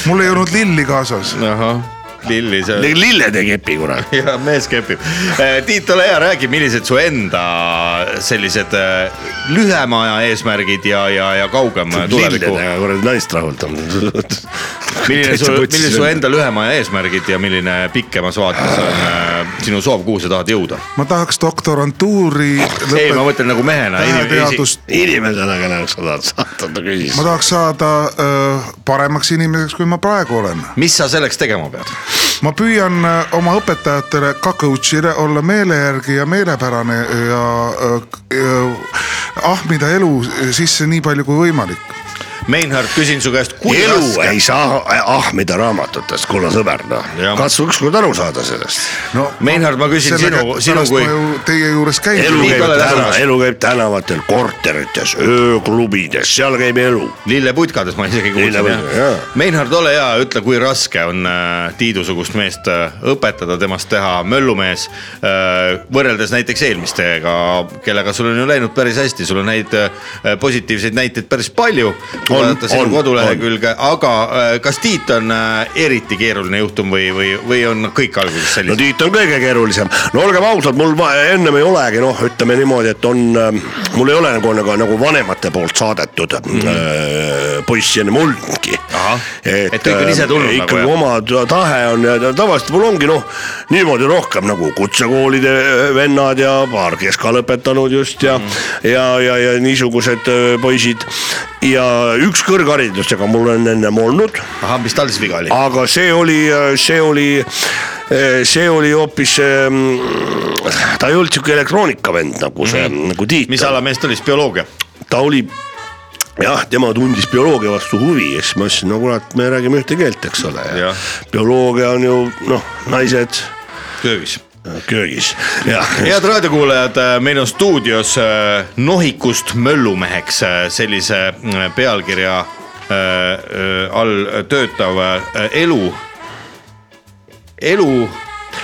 E: mul ei olnud lilli kaasas .
B: ahah , lilli seal . [LAUGHS]
C: lilled ei kepi , kurat .
B: ja mees kepib . Tiit , ole hea , räägi , millised su enda sellised eh, lühema aja eesmärgid ja , ja , ja kaugema tuleviku ,
C: lilledega kuradi naist rahuldanud .
B: milline su , milline su enda lühema aja eesmärgid ja milline pikemas vaates on eh, sinu soov , kuhu sa tahad jõuda ?
E: ma tahaks doktorantuuri
B: ei , ma
E: lõpetada
B: mõtlen nagu mehena .
E: teadust ,
C: inimesena , kelle jaoks sa tahad saata , ta küsis
E: ma . tahaks saada öö, paremaks inimeseks , kui ma praegu olen .
B: mis sa selleks tegema pead ?
E: ma püüan öö, oma õpetajatele , ka coach'ile olla meele järgi ja meelepärane ja öö, öö, ahmida elu sisse nii palju kui võimalik .
B: Meinhard , küsin su käest , kui
C: elu
B: raske ,
C: ei saa ahmida raamatutest , kulla sõber , noh
B: Jah. .
C: katsu ükskord aru saada sellest .
E: no
B: Meinhard , ma küsin sinu , sinu kui ,
E: Teie juures
C: elu
E: käin .
B: Nii,
C: käib
B: Kalle
C: täna
B: Tänav. ,
C: elu käib tänavatel , korterites , ööklubides , seal käib elu .
B: lilleputkades ma isegi kuulsin
C: Lilleputkades, jaa.
B: jah . Meinhard , ole hea , ütle , kui raske on äh, Tiidusugust meest äh, õpetada , temast teha möllumees äh, võrreldes näiteks eelmistega , kellega sul on ju läinud päris hästi , sul on neid äh, positiivseid näiteid päris palju . kindlasti
C: On,
B: vaadata sinu
C: on,
B: kodulehekülge , aga äh, kas Tiit on äh, eriti keeruline juhtum või , või , või on kõik alguses
C: no
B: sellised ?
C: Tiit on kõige keerulisem , no olgem ausad , mul va- ennem ei olegi noh , ütleme niimoodi , et on , mul ei ole nagu , nagu , nagu vanemate poolt saadetud mm -hmm. poissi ennem olnudki .
B: Ahah. Et kõik on ise tulnud nagu,
C: ikkagi
B: jah?
C: oma ta- tahe on ja ta- tavaliselt mul ongi noh , niimoodi rohkem nagu kutsekoolide äh, vennad ja paar keska lõpetanud just ja mm ,
B: Mhm.
C: -hmm. ja , ja , ja niisugused äh, poisid ja üks kõrgharidusega mul on ennem olnud
B: ahah , mis tal siis viga oli ?
C: aga see oli , see oli , see oli hoopis , ta ei olnud sihuke elektroonikavend nagu see mm , -hmm. nagu Tiit .
B: mis ala mees ta oli siis , bioloogia ?
C: ta oli , jah , tema tundis bioloogia vastu huvi ja siis ma ütlesin , no kurat , me räägime ühte keelt , eks ole .
B: Jah.
C: bioloogia on ju noh , naised
B: köögis .
C: köögis ja
B: head raadiokuulajad , meil on stuudios äh, nohikust möllumeheks äh, sellise äh, pealkirja äh, äh, all töötav äh, elu , elu ,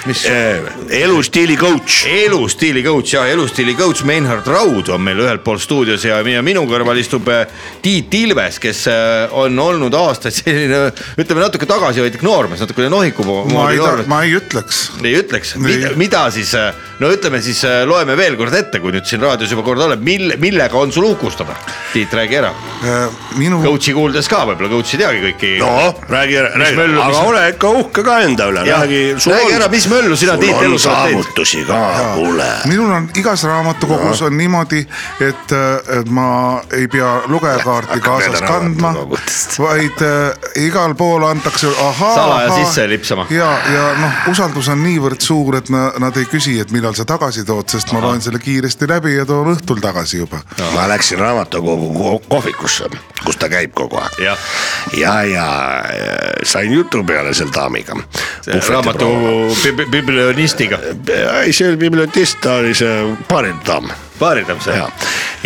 B: mis
C: Eh, elustiili coach .
B: elustiili coach ja elustiili coach Meinhard Raud on meil ühel pool stuudios ja ja minu kõrval istub äh, Tiit Ilves , kes äh, on olnud aastaid selline , ütleme natuke tagasihoidlik noormees , natukene nohiku po-
E: ma ei
B: moodi , noormees .
E: ma ei ütleks .
B: ei ütleks ,
E: Nii.
B: mida siis , no ütleme siis äh, loeme veel kord ette , kui nüüd siin raadios juba kord oleb , mille , millega on sul uhkustada ? Tiit , räägi ära ,
E: Äh, minu ,
B: coach'i kuuldes ka võib-olla coach ei teagi kõiki .
C: noh , räägi , räägi ,
B: möllu-
C: aga
B: mis-
C: ole ikka uhke ka enda üle ,
B: Jah.
C: räägi .
B: Räägi ära, mis möllu sina, Tiit,
C: sul on
B: elus oled teinud?
C: saavutusi ka , kuule
E: minul on igas raamatukogus on niimoodi , et , et ma ei pea lugejakaarti
C: Hakkab
E: kaasas
C: jälle
E: kandma ,
C: raamatukogudest.
E: vaid äh, igal pool antakse ahaa .
B: Salaja sisse lipsama.
E: ja , ja noh , usaldus on niivõrd suur , et na, nad ei küsi , et millal sa tagasi tood , sest ma loen selle kiiresti läbi ja toon õhtul tagasi juba .
C: ma läksin raamatukogu ko- kohvikusse , kus ta käib kogu aeg .
B: jah ,
C: ja , ja äh, sain jutu peale selle daamiga .
B: raamatukogu bibli- biblionistiga ,
C: ei , see oli bibliotist , ta oli see baarindaam
B: paaridab see
C: ja ,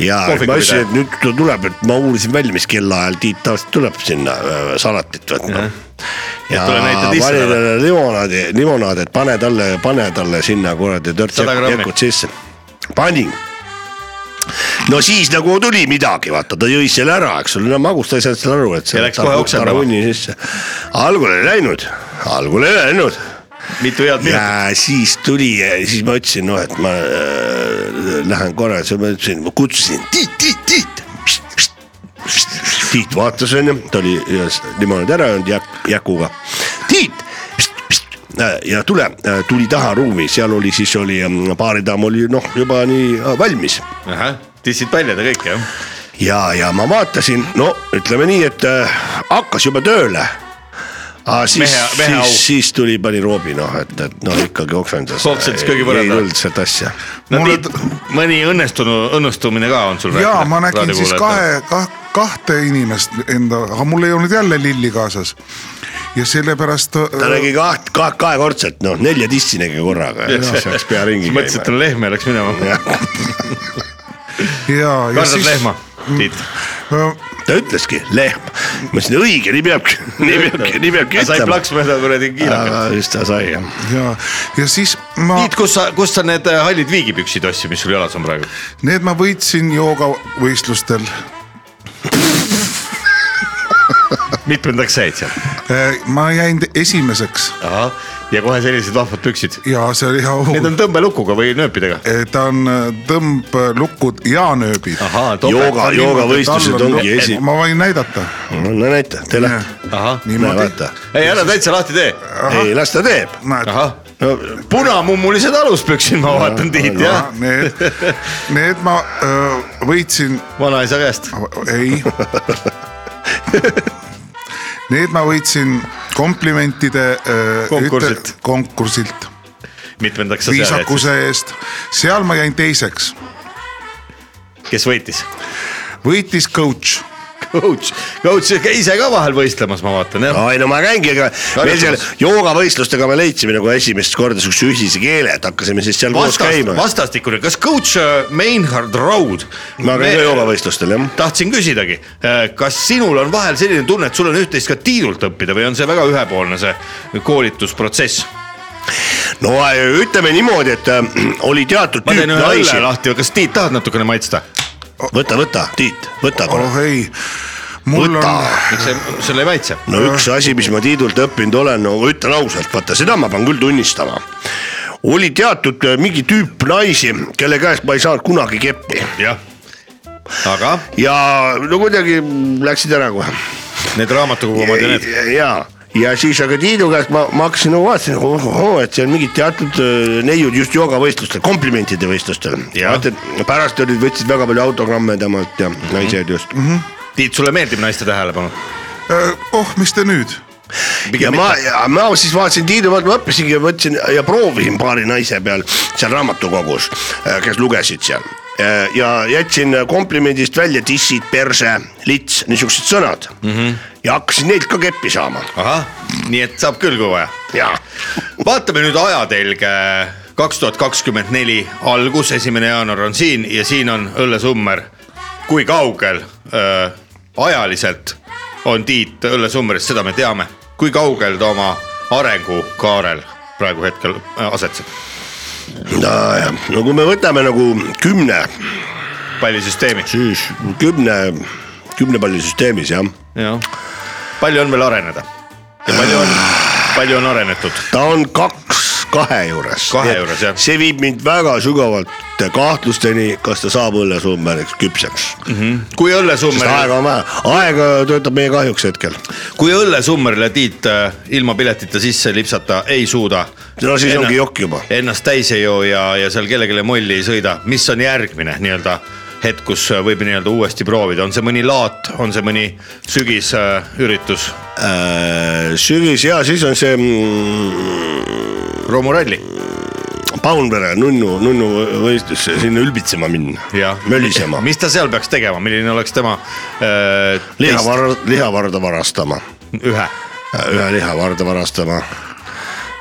C: ja
B: Kohviku
C: ma ütlesin ,
B: pidaja.
C: et nüüd ta tuleb , et ma uurisin välja , mis kellaajal Tiit tavaliselt tuleb sinna äh, salatit võtma . ja
B: tule näita
C: panin
B: tissile või?
C: talle limonaadi , limonaad , et pane talle , pane talle sinna kuradi tört
B: Sada grammi.
C: jäkud sisse . panin no siis nagu tuli midagi , vaata ta jõi selle ära , eks ole , no magus ta ei saanud seda aru , et see
B: Ja läks kohe oksendama.
C: tarunni sisse . algul ei läinud , algul ei läinud
B: mitu head minutit .
C: ja siis tuli , siis ma ütlesin , noh , et ma äh, lähen korra , siis ma ütlesin , ma kutsusin Tiit , Tiit , Tiit . Tiit vaatas onju , ta oli ühes limonaadi ära jäänud jak- , jakuga . Tiit Äh, ja tule , tuli taha ruumi , seal oli siis oli mm, baaridaam oli noh , juba nii äh, valmis
B: ahah , tissid välja ta kõik jah
C: ja , ja ma vaatasin , no ütleme nii , et äh, hakkas juba tööle . Aga siis
B: Mehe- , mehe au.
C: siis , siis tuli , pani roobi noh , et , et noh , ikkagi oksendas .
B: Oksendas köögipõrandale.
C: ei tulnud sealt asja .
B: no
E: Mulle
B: Tiit , mõni õnnestunu , õnnestumine ka on sul
E: ja ma nägin siis kahe , kah, kahte inimest enda , aga mul ei olnud jälle lilli kaasas . ja sellepärast . äh,
C: ta nägi kaht , kaht , kahekordselt , noh , nelja tissi nägi korraga ja siis läks pea ringi
B: mõtlesin , et
C: käima .
B: on lehm ja läks minema .
E: ja , ja
B: kardad
E: siis . äh,
B: lehma , Tiit ?
C: ta ütleski lehm , ma ütlesin õige , nii peabki , nii peabki , nii peabki
B: sai
C: ütlema .
B: plaks mööda kuradi kiilakat .
C: aga siis ta sai jah .
E: ja , ja siis ma ,
B: Tiit , kus sa , kus sa need äh, hallid viigipüksid ostsid , mis sul jalas on praegu ?
E: need ma võitsin joogavõistlustel .
B: mitmendaks said seal ?
E: Eh, ma jäin te- esimeseks
B: ahah , ja kohe sellised vahvad püksid .
E: ja see oli hea
B: Need
E: au .
B: on tõmbelukuga või nööpidega ?
E: ta on eh, tõmblukud ja nööbid .
B: ahaa ,
C: jooga , joogavõistlused ongi esi- .
E: ma võin näidata .
C: no näita , tee lahti .
B: ahah ,
C: näe
E: niimoodi ,
C: vaata ,
B: ei ära täitsa lahti tee .
C: ei las ta teeb .
E: näed .
B: ahah ,
C: no
B: punamummulised aluspüksid , ma vaatan Tiit jah ,
E: Need , need ma öö,
B: [LAUGHS]
E: võitsin
B: vanaisa käest .
E: ei . Need ma võitsin komplimentide äh,
B: Konkursilt.
E: üte- konkursilt ,
B: mitmendaks sa seal jäid ,
E: viisakuse eest , seal ma jäin teiseks ,
B: kes võitis ?
E: võitis coach .
B: coach , coach ise ka vahel võistlemas , ma vaatan jah .
C: ei no ma käingi , aga meil seal joogavõistlustega me leidsime nagu esimest korda siukse ühise keele , et hakkasime siis seal koos
B: vastast ,
C: käima .
B: vastastikune , kas coach äh, Meinhard Raud ?
C: ma käin ka joogavõistlustel jah .
B: tahtsin küsidagi , kas sinul on vahel selline tunne , et sul on üht-teist ka Tiidult õppida või on see väga ühepoolne , see koolitusprotsess ?
C: no äh, ütleme niimoodi , et äh, oli teatud
B: ma
C: tüüp
B: teen ühe õlle
C: naisi ,
B: lahti , kas Tiit tahad natukene maitsta ?
C: võta , võta Tiit , võta korra .
E: oh ei , mul
B: võta
E: on ,,
B: sul ei maitse .
C: no üks asi , mis ma Tiidult õppinud olen , no ütlen ausalt , vaata seda ma pean küll tunnistama . oli teatud äh, mingi tüüp naisi , kelle käest ma ei saanud kunagi keppi
B: jah , aga
C: ja no kuidagi läksid ära kohe .
B: need raamatukogumad ja need ,
C: ja , ja siis aga Tiidu käest ma , ma hakkasin nagu vaatasin , ohoo , et see on mingid teatud äh, neiud just joogavõistlustel , komplimentide võistlustel .
B: Jah. Mhm.
C: pärast olid , võtsid väga palju autogramme temalt ja mm -hmm. naised just mm . -hmm.
B: Tiit , sulle meeldib naiste tähelepanu ?
E: oh , mis te nüüd ?
C: ja
B: pigem
C: ma
B: mitte ,,
C: ma siis vaatasin Tiidu poolt , ma õppisingi ja võtsin ja proovisin paari naise peal seal raamatukogus , kes lugesid seal . ja jätsin komplimendist välja tissid , perse , lits , niisugused sõnad mm .
B: Mhm.
C: -hmm. ja hakkasin neilt ka keppi saama
B: ahah , nii et saab küll , kui vaja
C: ja
B: vaatame nüüd ajatelge kaks tuhat kakskümmend neli algus , esimene jaanuar on siin ja siin on Õlle Summer . kui kaugel öö, ajaliselt on Tiit Õlle Summerist , seda me teame , kui kaugel ta oma arengukaarel praegu hetkel öö, asetseb ,
C: nojah , no kui me võtame nagu kümne ,
B: pallisüsteemi .
C: siis kümne , kümne palli süsteemis jah ,
B: palju on veel areneda ja palju on , palju on arenetud ,
C: ta on kaks kahe juures .
B: Kahe juures, jah.
C: see viib mind väga sügavalt kahtlusteni , kas ta saab õllesummeriks küpseks mm . -hmm.
B: kui Õlle
C: sest
B: Summer
C: aega on vähe , aega töötab meie kahjuks hetkel .
B: kui Õlle Summerile Tiit äh, ilma piletita sisse lipsata ei suuda .
C: No siis ongi jokk juba.
B: Ennast täis ei joo ja , ja seal kellelegi molli ei sõida , mis on järgmine nii-öelda hetk , kus äh, võib nii-öelda uuesti proovida , on see mõni laat , on see mõni sügisüritus äh, ,
C: Äh, sügis ja siis on see mm,
B: romuralli ,
C: Paunvere nunnu , nunnu võistlus , sinna ülbitsema minna
B: jah .
C: mölisema ,
B: mis ta seal peaks tegema , milline oleks tema äh, teist ,
C: lihavar- , lihavarda varastama
B: ühe ,
C: ühe lihavarda varastama ,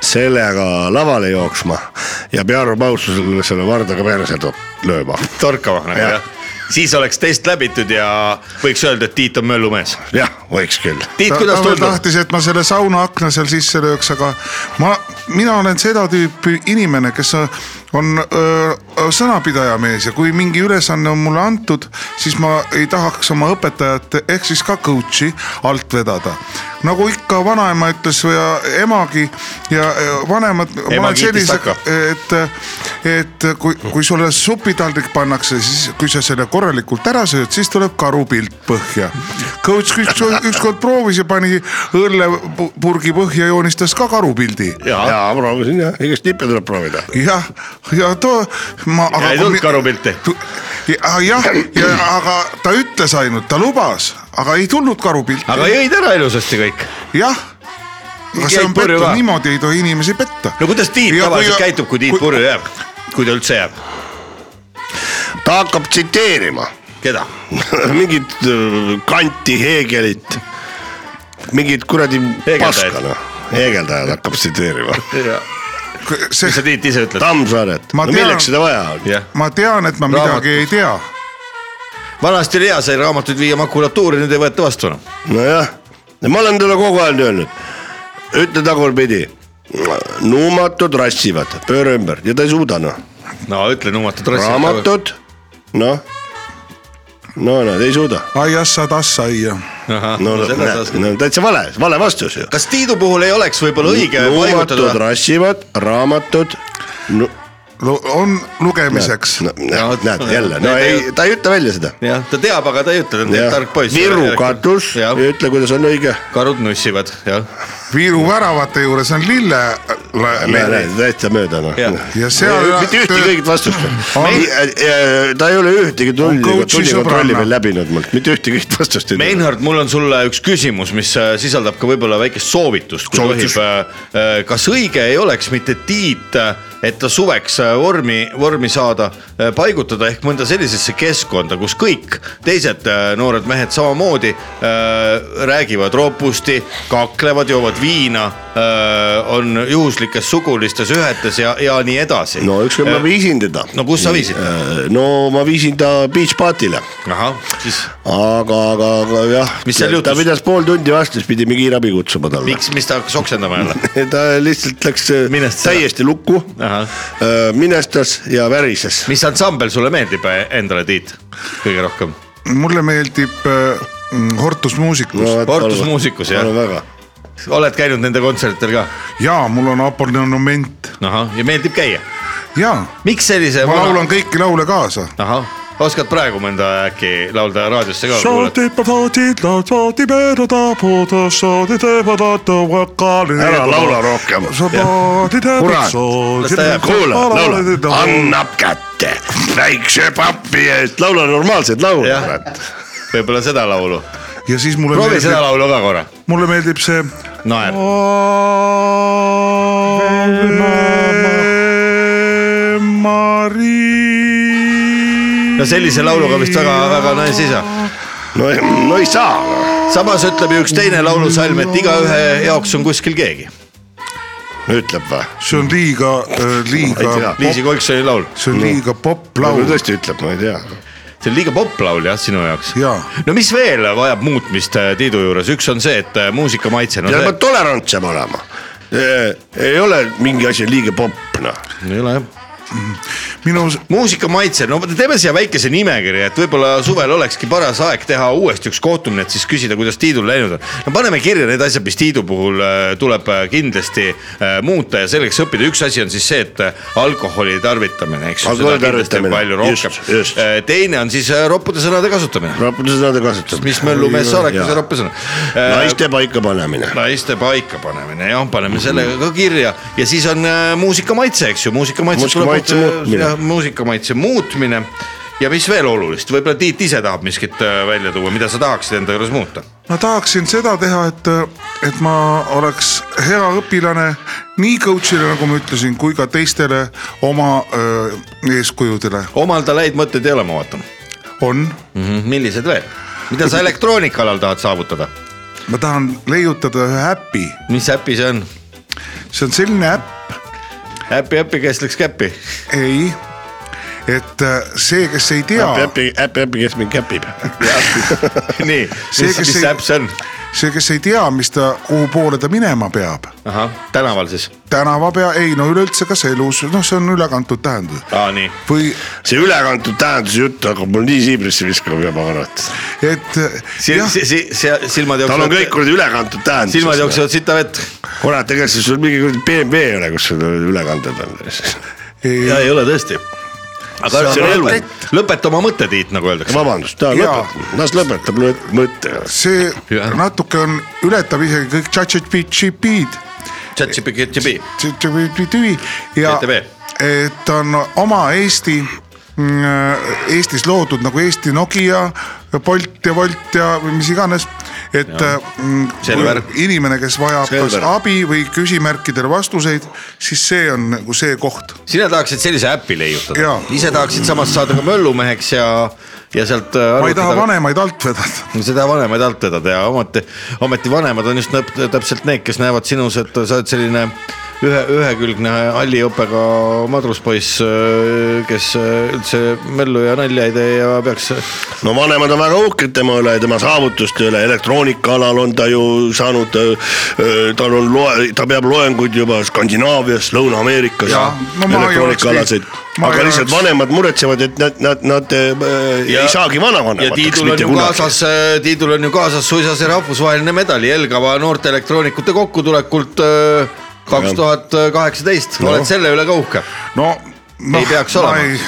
C: sellega lavale jooksma ja Pearu Paulsusele selle vardaga perse to- lööma .
B: torkama nagu
C: Jah.
B: jah , siis oleks test läbitud ja võiks öelda , et Tiit on möllumees .
C: jah , võiks küll .
B: Tiit ,
E: ta,
B: kuidas
E: ta veel
B: tundub ?
E: tahtis , et ma selle sauna akna seal sisse lööks , aga ma , mina olen seda tüüpi inimene , kes on öö, sõnapidaja mees ja kui mingi ülesanne on mulle antud , siis ma ei tahaks oma õpetajat ehk siis ka coach'i alt vedada . nagu ikka vanaema ütles või ja emagi ja öö, vanemad .
B: Ema kiitis takka.
E: et , et kui , kui sulle supitaldrik pannakse , siis kui sa selle korralikult ära sööd , siis tuleb karupilt põhja . Coach üks , ükskord proovis ja pani õllepurgi põhja , joonistas ka karupildi .
C: jaa , proovisin jah , igast nippe tuleb proovida .
E: jah , ja too , ma .
B: ja ei tulnud karupilti .
E: jah , ja, ja, aga ta ütles ainult , ta lubas , aga ei tulnud karupilti .
B: aga jõid ära ilusasti kõik .
E: jah , aga see
B: Jäid
E: on
B: purju
E: pettu
B: ka. ,
E: niimoodi ei tohi inimesi petta .
B: no kuidas Tiit
E: Ja kui-
B: tavaliselt käitub , kui Tiit
E: kui-
B: purju jääb , kui ta üldse jääb ?
C: ta hakkab tsiteerima [LAUGHS]
B: keda ?
C: mingit öö, kanti Heegelit , mingit kuradi
B: Heegeldajaid.
C: paskana , heegeldajad hakkab tsiteerima .
E: see
B: mis sa Tiit ise ütled ?
C: Tammsaaret ,
E: Ma
C: no
E: tean-
C: milleks seda vaja on ?
B: jah ,
E: ma tean , et ma midagi ei tea
B: vanasti oli hea , sai raamatuid viia makulatuuri , nüüd ei võeta vastu noh. enam .
C: nojah , ma olen talle kogu aeg öelnud , ütle tagurpidi , nuumatud rassivad , pööra ümber ja ta ei suuda noh ,
B: no ütle nuumatud rassi .
C: raamatud , noh , no nad ei suuda .
E: aiassa tassaia .
B: Ah,
C: no, no,
B: seda saaks
C: näed, no täitsa vale , vale vastus ju .
B: kas Tiidu puhul ei oleks võib-olla õige
C: nuumatud
B: paigutada ?
C: rassivad , raamatud nu, ,
E: on lugemiseks
C: no,
E: no. .
B: No,
C: näed, näed jälle , no
B: näed,
C: ei , ta ei ütle välja seda .
B: jah , ta teab , aga ta ei ütle , ta on tark poiss .
C: Viru katus ,
B: jah ,
C: ütle , kuidas on õige .
B: karud nussivad , jah .
E: Viru väravate juures on lille . äh,
C: täitsa mööda noh
B: Jah.
E: ja seal
C: mitte ühtegi õiget vastust . äh, ta ei ole ühtegi tulli
E: coach'i ,
C: tullikontrolli
E: sõbranna.
C: veel läbinud mult , mitte ühtegi õiget vastust ei tule .
B: Meinhard , mul on sulle üks küsimus , mis äh, sisaldab ka võib-olla väikest soovitust , kui
C: Soovitus.
B: tohib . kas õige ei oleks mitte Tiit , et ta suveks äh, vormi , vormi saada , paigutada ehk mõnda sellisesse keskkonda , kus kõik teised äh, noored mehed samamoodi äh, räägivad roppusti , kaklevad , joovad viina , on juhuslikes sugulistes ühetes ja , ja nii edasi .
C: no ükskord ma viisin teda .
B: Äh, no kus sa viisid ?
C: no ma viisin ta beach party'le ,
B: ahah , siis
C: aga , aga , aga jah .
B: Mis seal
C: ta
B: juhtus?
C: pidas pool tundi vastu , siis pidime kiirabi kutsuma talle .
B: miks , mis ta hakkas oksendama jälle ?
C: [LAUGHS] ta lihtsalt läks äh,
B: Minestas ära.
C: täiesti lukku äh,
B: Ahah. ,
C: minestas ja värises .
B: eh, mis ansambel sulle meeldib endale , Tiit , kõige rohkem ?
E: mulle meeldib äh, Hortus muusikus no. .
B: Hortusmuusikus, jah.
C: palun väga .
B: oled käinud nende kontsertidel ka?
E: jaa , mul on abonement
B: ahah , ja meeldib käia .
E: jaa ,
B: miks sellise
E: ma laulan kõiki laule kaasa .
B: ahah , oskad praegu mõnda äkki laulda raadiosse ka ?
C: ära laula rohkem . Kurat. kuule , laula ,
B: nagu-
C: annab kätte väikse papi eest , laula normaalseid laule ,
B: Jah.
C: kurat .
B: võib-olla seda laulu .
E: ja siis mulle
B: proovi
E: [LAUGHS]
B: seda
E: meeldib ,
B: laulu ka korra .
E: mulle meeldib see .
B: naer .
E: Marii .
B: no sellise lauluga vist väga-väga naisi ei saa .
C: no , no ei saa .
B: samas ütleb ju üks teine laulusalm , et igaühe jaoks on kuskil keegi .
C: ütleb või ?
E: see on liiga ,
C: Ma ei
E: liiga
C: tea. ,
B: Liisi Koiksoni laul ,
E: see on liiga popp
C: laul
E: laul
C: tõesti ütleb , ma ei tea .
B: see on liiga poplaul jah , sinu jaoks .
E: jaa ,
B: no mis veel vajab muutmist äh, Tiidu juures , üks on see , et äh, muusika maitse , no
C: ja
B: see
C: peab tolerantsem olema . ei ole mingi asi liiga popp , noh .
B: ei ole jah
E: minu ,
B: muusika maitse , no teeme siia väikese nimekirja , et võib-olla suvel olekski paras aeg teha uuesti üks kohtumine , et siis küsida , kuidas Tiidul läinud on . no paneme kirja need asjad , mis Tiidu puhul äh, tuleb äh, kindlasti äh, muuta ja selleks õppida , üks asi on siis see , et äh, alkoholi tarvitamine , eks ju .
C: Alkoholi tarvitamine,
B: palju
C: just,
B: rohkem .
C: just.
B: teine on siis äh, roppude sõnade kasutamine ,
C: rappude sõnade kasutamine .
B: mis möllumees Saarekas ja roppe sõna äh,
C: naiste paika panemine .
B: naiste paikapanemine , jah , paneme selle ka kirja ja siis on äh, muusika maitse , eks ju , muusika maitse .
C: Muusika maitse muutmine.
B: muusika maitse muutmine ja mis veel olulist , võib-olla Tiit ise tahab miskit äh, välja tuua , mida sa tahaksid enda juures muuta ?
E: ma tahaksin seda teha , et , et ma oleks hea õpilane nii coach'ile , nagu ma ütlesin , kui ka teistele oma öö, eeskujudele
B: omalda häid mõtteid ei ole , ma vaatan
E: on .
B: mm . -hmm. millised veel ? mida sa elektroonika alal tahad saavutada ?
E: ma tahan leiutada ühe äpi ,
B: mis äpi see on ?
E: see on selline äpp ,
B: äpi , äpi , kes läks käppi ?
E: ei , et äh, see , kes ei tea ,
C: äpi , äpi , äpi , kes mind käpib .
B: [LAUGHS] nii ,
E: See,
B: mis
E: kes
B: mis
E: ei-
B: äpp see on ?
E: see , kes ei tea , mis ta , kuhu poole ta minema peab ,
B: ahah , tänaval siis ?
E: tänava pea , ei no üleüldse kas elus , noh , see on ülekantud tähendus
B: aa , nii .
E: või
C: see ülekantud tähenduse jutt hakkab mul nii siibrisse viskama juba , kurat .
E: et
B: si- ,
E: jah ,
B: si- , si- , si- , silmad
C: tal on
B: jooksevad
C: kõik , kuradi ülekantud tähendus .
B: silmad . jooksevad sita vett
C: kurat , ega siis sul mingi kuradi BMW ei ole , kus sul ülekanded on .
B: ja ei ole tõesti . aga
C: See on elu.
B: lõpeta, lõpeta oma mõte , Tiit , nagu öeldakse .
C: vabandust , ta
E: Jaa.
C: lõpetab , las lõpetab lõ- mõtte .
E: see
B: Jah.
E: natuke on , ületab isegi kõik tšatšetšipid ,
B: ChatGPT ,
E: tšetšepitüvi ja
B: GTV.
E: et on oma Eesti , Eestis loodud nagu Eesti Nokia , Bolt ja Wolt ja või mis iganes , et mm,
B: Selver.
E: kui inimene , kes vajab kas
B: Selver.
E: abi või küsimärkidele vastuseid , siis see on nagu see koht .
B: sina tahaksid sellise äpi leiutada
E: Jaa. ,
B: ise tahaksid samas saada ka möllumeheks ja , ja sealt .
E: ma ei taha . vanemaid alt vedada .
B: seda vanemaid alt vedada ja ometi , ometi vanemad on just nõp- täpselt need , kes näevad sinus , et sa oled selline ühe , ühekülgne halli jopega madruspoiss , kes äh, üldse möllu ja nalja ei tee ja peaks .
C: no vanemad on väga uhked tema üle , tema saavutuste üle , elektroonika alal on ta ju saanud , tal on loe , ta peab loenguid juba Skandinaavias , Lõuna-Ameerikas
E: Jaa, no ma ei
C: elektroonikaalaseid
E: olekski- . ma ei
C: aga lihtsalt
E: oleks-
C: vanemad muretsevad , et nad , nad , nad äh, ei saagi
B: ja
C: vanavanemateks
B: Tiidul on
C: mitte
B: ju
C: kunagi .
B: kaasas , Tiidul on ju kaasas suisa see rahvusvaheline medal Jelgava noorte elektroonikute kokkutulekult äh, kaks tuhat äh, kaheksateist , oled selle üle ka uhke .
E: no, no
B: Ei peaks
E: ma
B: olema.
E: ei ,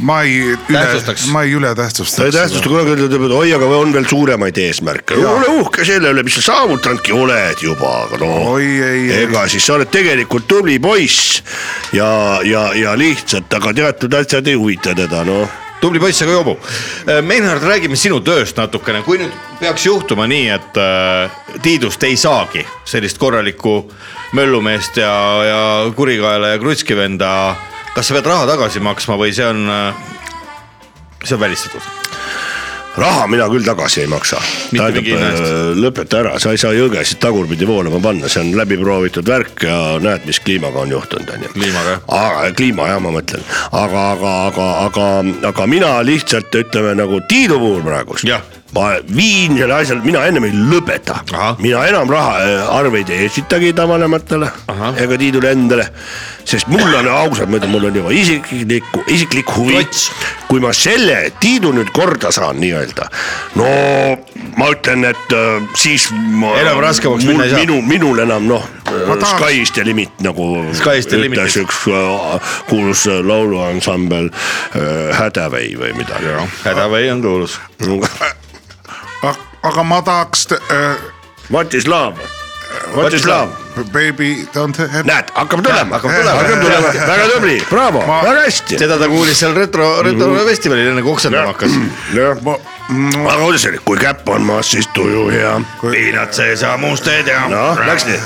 E: ma ei üle
B: Tähtsustaks. ,
E: ma ei
C: ta ei
E: ületähtsustaks .
C: tähtsusta kunagi , ta ütleb , et oi , aga on veel suuremaid eesmärke .
E: Jaa.
C: ole uhke selle üle , mis sa saavutanudki oled juba , aga noh .
E: oi ei , ei ,
C: ega siis sa oled tegelikult tubli poiss ja , ja , ja lihtsalt , aga teatud asjad ei huvita teda , noh .
B: tubli poiss , aga joobu . Meinhard , räägime sinu tööst natukene , kui nüüd peaks juhtuma nii , et äh, Tiidust ei saagi sellist korralikku möllumeest ja , ja kurikaela ja krutskivenda , kas sa pead raha tagasi maksma või see on , see on välistatud ?
C: raha mina küll tagasi ei maksa .
B: Mitte mingi hinna eest. ,
C: lõpeta ära , sa ei saa jõgesid tagurpidi voolama panna , see on läbiproovitud värk ja näed , mis kliimaga on juhtunud , on ju .
B: Kliimaga, jah.
C: aga kliima jah , ma mõtlen , aga , aga , aga , aga , aga mina lihtsalt ütleme nagu Tiidu puhul praegu
B: Jah. .
C: ma viin selle asja , mina ennem ei lõpeta
B: Ahah. ,
C: mina enam raha , arveid ei esitagi tavalematele
B: Ahah.
C: ega Tiidule endale . sest mul on ausalt , ma ütlen , mul on juba isiklikku , isiklik huvi
B: Klots. .
C: kui ma selle Tiidu nüüd korda saan nii-öelda , no ma ütlen , et äh, siis .
B: Enam raskemaks minna ei saa.
C: minu , minul enam noh ,
E: tahaks-
C: Sky is the limit nagu
B: Sky is the limit.
C: ütles üks äh, kuulus äh, lauluansambel äh, Hädaväi või midagi
B: hädavõi on kuulus .
E: aga ma tahaks äh, ,
C: What is love ? What is love ?
E: baby don't have .
C: näed , hakkab tulema , hakkab
E: tulema.
C: tulema , hakkab tulema , väga tubli , braavo ,
E: Ma-
C: väga hästi .
B: seda ta kuulis seal retro ,
E: Mhm.
B: retrofestivalil enne kui oksendama hakkas .
C: aga kuidas see oli , kui käpp on maas , siis tuju hea .
B: piinad sees ja muust ei tea .
C: noh , läks nii .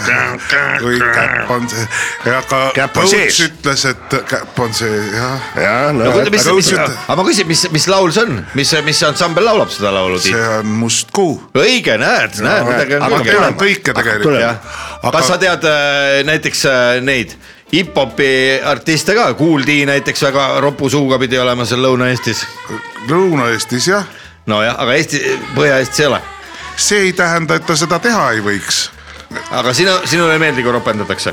E: või käpp on see , aga
C: Käpp on
E: Põuts
C: sees.
E: ütles , et käpp on see jah ,
C: ja no,
B: no kuule , mis , mis ,
E: Aga-
B: aga ma küsin , mis , mis laul see on , mis , mis ansambel laulab seda laulu , Tiit ?
E: see on must kuu .
B: õige , näed , näed , midagi on
E: ma
B: külge .
E: tean kõike tegelikult .
B: aga... . kas sa tead äh, näiteks äh, neid hip-hopi artiste ka , Kool D näiteks väga ropu suuga pidi olema seal Lõuna-Eestis .
E: Lõuna-Eestis jah ,
B: nojah , aga Eesti , Põhja-Eestis ei ole .
E: see ei tähenda , et ta seda teha ei võiks .
B: aga sina , sinule ei meeldi , kui ropendatakse ?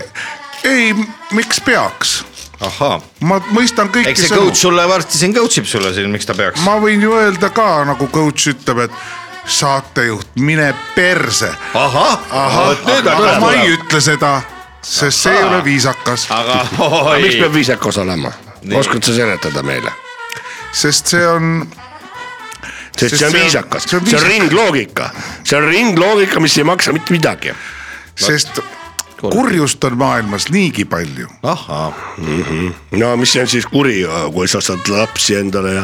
E: ei , miks peaks ,
B: ahhaa ,
E: ma mõistan kõiki
B: eks see coach . sulle varsti siin coach ib sulle siin , miks ta peaks Ma... .
E: ma võin ju öelda ka nagu coach ütleb , et saatejuht , mine perse .
B: ahah , vot nüüd
E: aga
B: hakkab
E: ma ei
B: tulema .
E: ütle seda , sest see ei ole viisakas ,
B: aga oi ,
C: miks peab viisakas olema ? oskad sa seletada meile ?
E: sest see on
C: sest see on viisakas , see on ringloogika , see on ringloogika , mis ei maksa mitte midagi .
E: sest kurjust on maailmas niigi palju .
B: ahhaa ,
C: no mis see on siis kuri , kui sa saad lapsi endale ja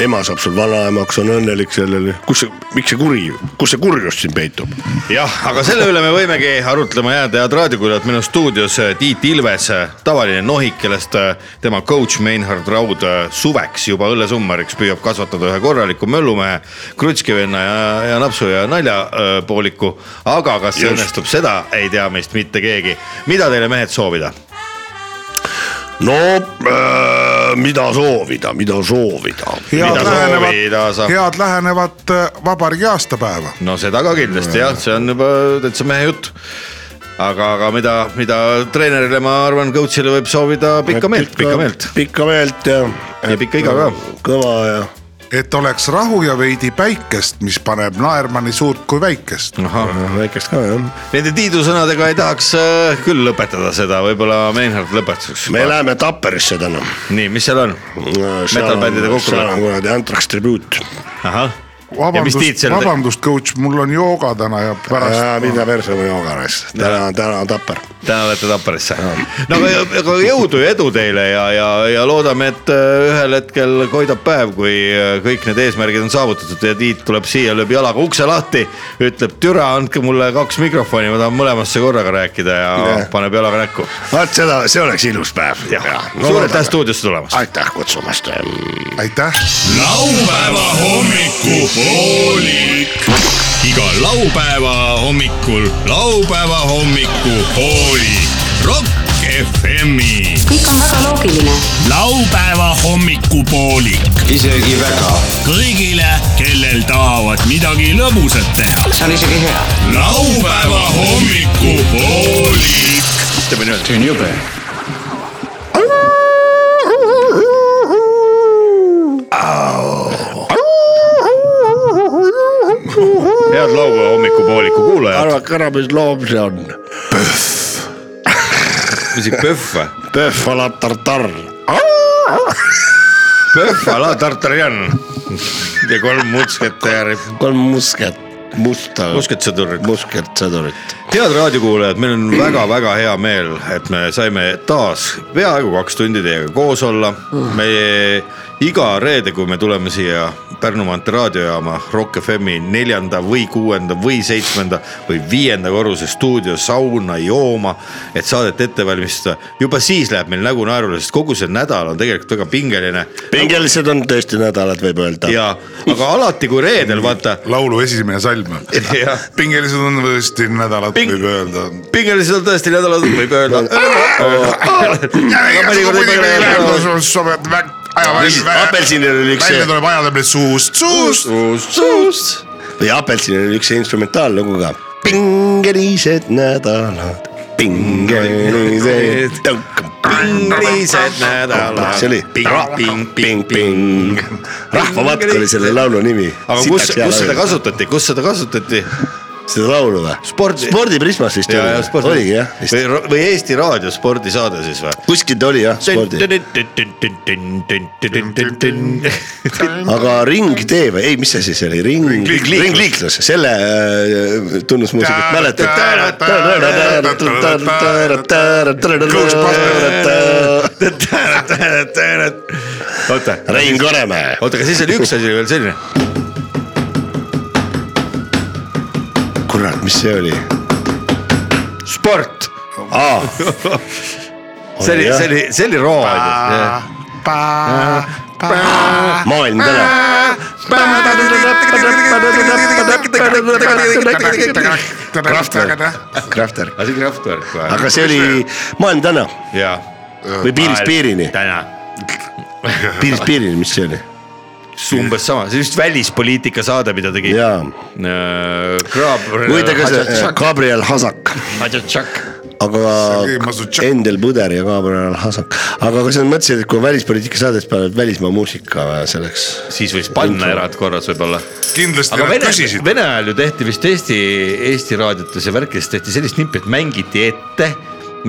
C: ema saab sul vanaemaks , on õnnelik sellele , kus see , miks see kuri , kus see kurjus siin peitub ?
B: jah , aga selle üle me võimegi arutlema jääda , head raadiokuulajad , minu stuudios äh, Tiit Ilves , tavaline nohik , kellest äh, tema coach Meinhard Raud äh, suveks juba õllesummariks püüab kasvatada ühe korraliku möllumehe , krutskivenna ja , ja napsu ja naljapooliku , aga kas see
C: Just.
B: õnnestub , seda ei tea meist mitte keegi . mida teile mehed soovida ?
C: no äh, mida soovida , mida soovida .
E: head
B: Mida soovida
E: lähenevat ,
B: saab?
E: head lähenevat äh, vabariigi aastapäeva .
B: no seda ka kindlasti jah , see on juba täitsa mehe jutt . aga , aga mida , mida treenerile , ma arvan , coach'ile võib soovida pikka meelt , pikka meelt .
C: pikka meelt ja .
B: Ja pikka iga ka. .
C: kõva ja .
E: et oleks rahu ja veidi päikest , mis paneb naerma nii suurt kui väikest .
B: ahah ,
C: väikest ka jah .
B: nende Tiidu sõnadega ei tahaks äh, küll lõpetada seda , võib-olla Meinhard lõpetuseks .
C: me läheme Tapperisse täna .
B: nii , mis seal on ? Metal-bändide
C: Äh, seal on
B: kokkutulek .
C: kuradi Antrax tribüüt .
B: ahah , ja mis Tiit
E: vabandust ,
B: seal Äh, tegi ?
E: vabandust , coach , mul on jooga täna ja pärast .
C: Äh, mida perse või joogares , täna , täna on Tapper .
B: täna olete Tapperisse . no aga, aga jõudu ja edu teile ja , ja , ja loodame , et äh, ühel hetkel koidab päev , kui äh, kõik need eesmärgid on saavutatud ja Tiit tuleb siia , lööb jalaga ukse lahti , ütleb türa , andke mulle kaks mikrofoni , ma tahan mõlemasse korraga rääkida ja
C: Jah.
B: paneb jalaga näkku .
C: vaat seda , see oleks ilus päev .
B: suur aitäh . stuudiosse tulemast .
C: aitäh kutsumast .
E: aitäh .
F: laupäeva hommikupoolik .
G: iga laupäeva hommikul laupäeva hommikupoolik . Rock FM-i .
H: kõik on väga loogiline .
G: laupäeva hommikupoolik . isegi väga . kõigile , kellel tahavad midagi lõbusat teha . see on isegi hea . laupäeva hommikupoolik .
B: ütleme niimoodi . head laupäeva hommikupooliku kuulajad .
C: arvake ära , mis loom see on .
B: mis see PÖFF või ?
C: Pöhv a la tartar .
B: PÖFF a la Tartarian . ja kolm musketäri .
C: kolm musket , musta .
B: musketsõdurit .
C: musketsõdurit .
B: head raadiokuulajad , meil on väga-väga hea meel , et me saime taas peaaegu kaks tundi teiega koos olla . me iga reede , kui me tuleme siia Pärnu maantee raadiojaama Rock FM-i neljanda või kuuenda või seitsmenda või viienda korruse stuudio sauna jooma , et saadet ette valmistada . juba siis läheb meil nägu naerule , sest kogu see nädal on tegelikult väga pingeline
C: pingelised on tõesti nädalad , võib öelda .
B: ja , aga alati , kui reedel vaata
E: laulu esimene salm .
B: Jah.
E: pingelised on tõesti nädalad
B: Ping-
E: Ping... , võib öelda .
B: pingelised on tõesti nädalad , võib öelda .
E: sa pead vä- ,
C: Apelsinil oli üks
E: välja
C: see ,
E: tuleb ajada meid suust , suust .
B: suust , suust .
C: või Apelsinil oli üks instrumentaallugu ka . pingelised nädalad , pingelised , pingelised
B: Ah,
C: nädalad . see oli ping-ping-ping , rahvamatk oli selle laulu nimi .
B: aga kus , kus seda ? kasutati , kus seda kasutati ?
C: seda laulu või ?
B: Spordi-
C: spordiprismas vist
B: ja , ja
C: oli ,
B: spordi .
C: oligi jah , vist
B: või , või Eesti Raadio spordisaade siis või ?
C: kuskilt oli jah , spordi . aga Ringtee või ei , mis see siis oli , ring ,
B: Ringliiklus.
C: ringliiklus , selle äh, tunnusmuusikat mäletad ?
B: oota ,
C: Rein Koremäe .
B: oota , aga siis oli üks asi veel selline .
C: kurat , mis see oli ?
B: sport ,
C: aa ,
B: see oli ,
C: jah.
B: see oli , see oli raadio .
C: maailm täna . Krahver ,
B: aga see oli Kraftwerk või ?
C: aga see oli Maailm täna
B: jaa .
C: või Piirist piirini ,
B: täna ,
C: Piirist piirini , mis see oli ?
B: umbes sama , see oli just välispoliitika saade , mida tegi .
C: jaa ,
B: Kraab .
C: muide ka see äh, Gabriel Hasak ,
B: Hadžatšak .
C: aga
D: Sergei Masutšak.
C: Endel Põder ja Gabriel Hasak , aga kas sa mõtlesid , et kui välispoliitika saadet paned välismaa muusika selleks ?
B: siis võis panna erandkorras võib-olla .
D: kindlasti
B: aga
D: nad
B: Vene ,
D: küsisid .
B: Vene ajal ju tehti vist Eesti , Eesti raadiotes ja värkides tehti sellist nippi , et mängiti ette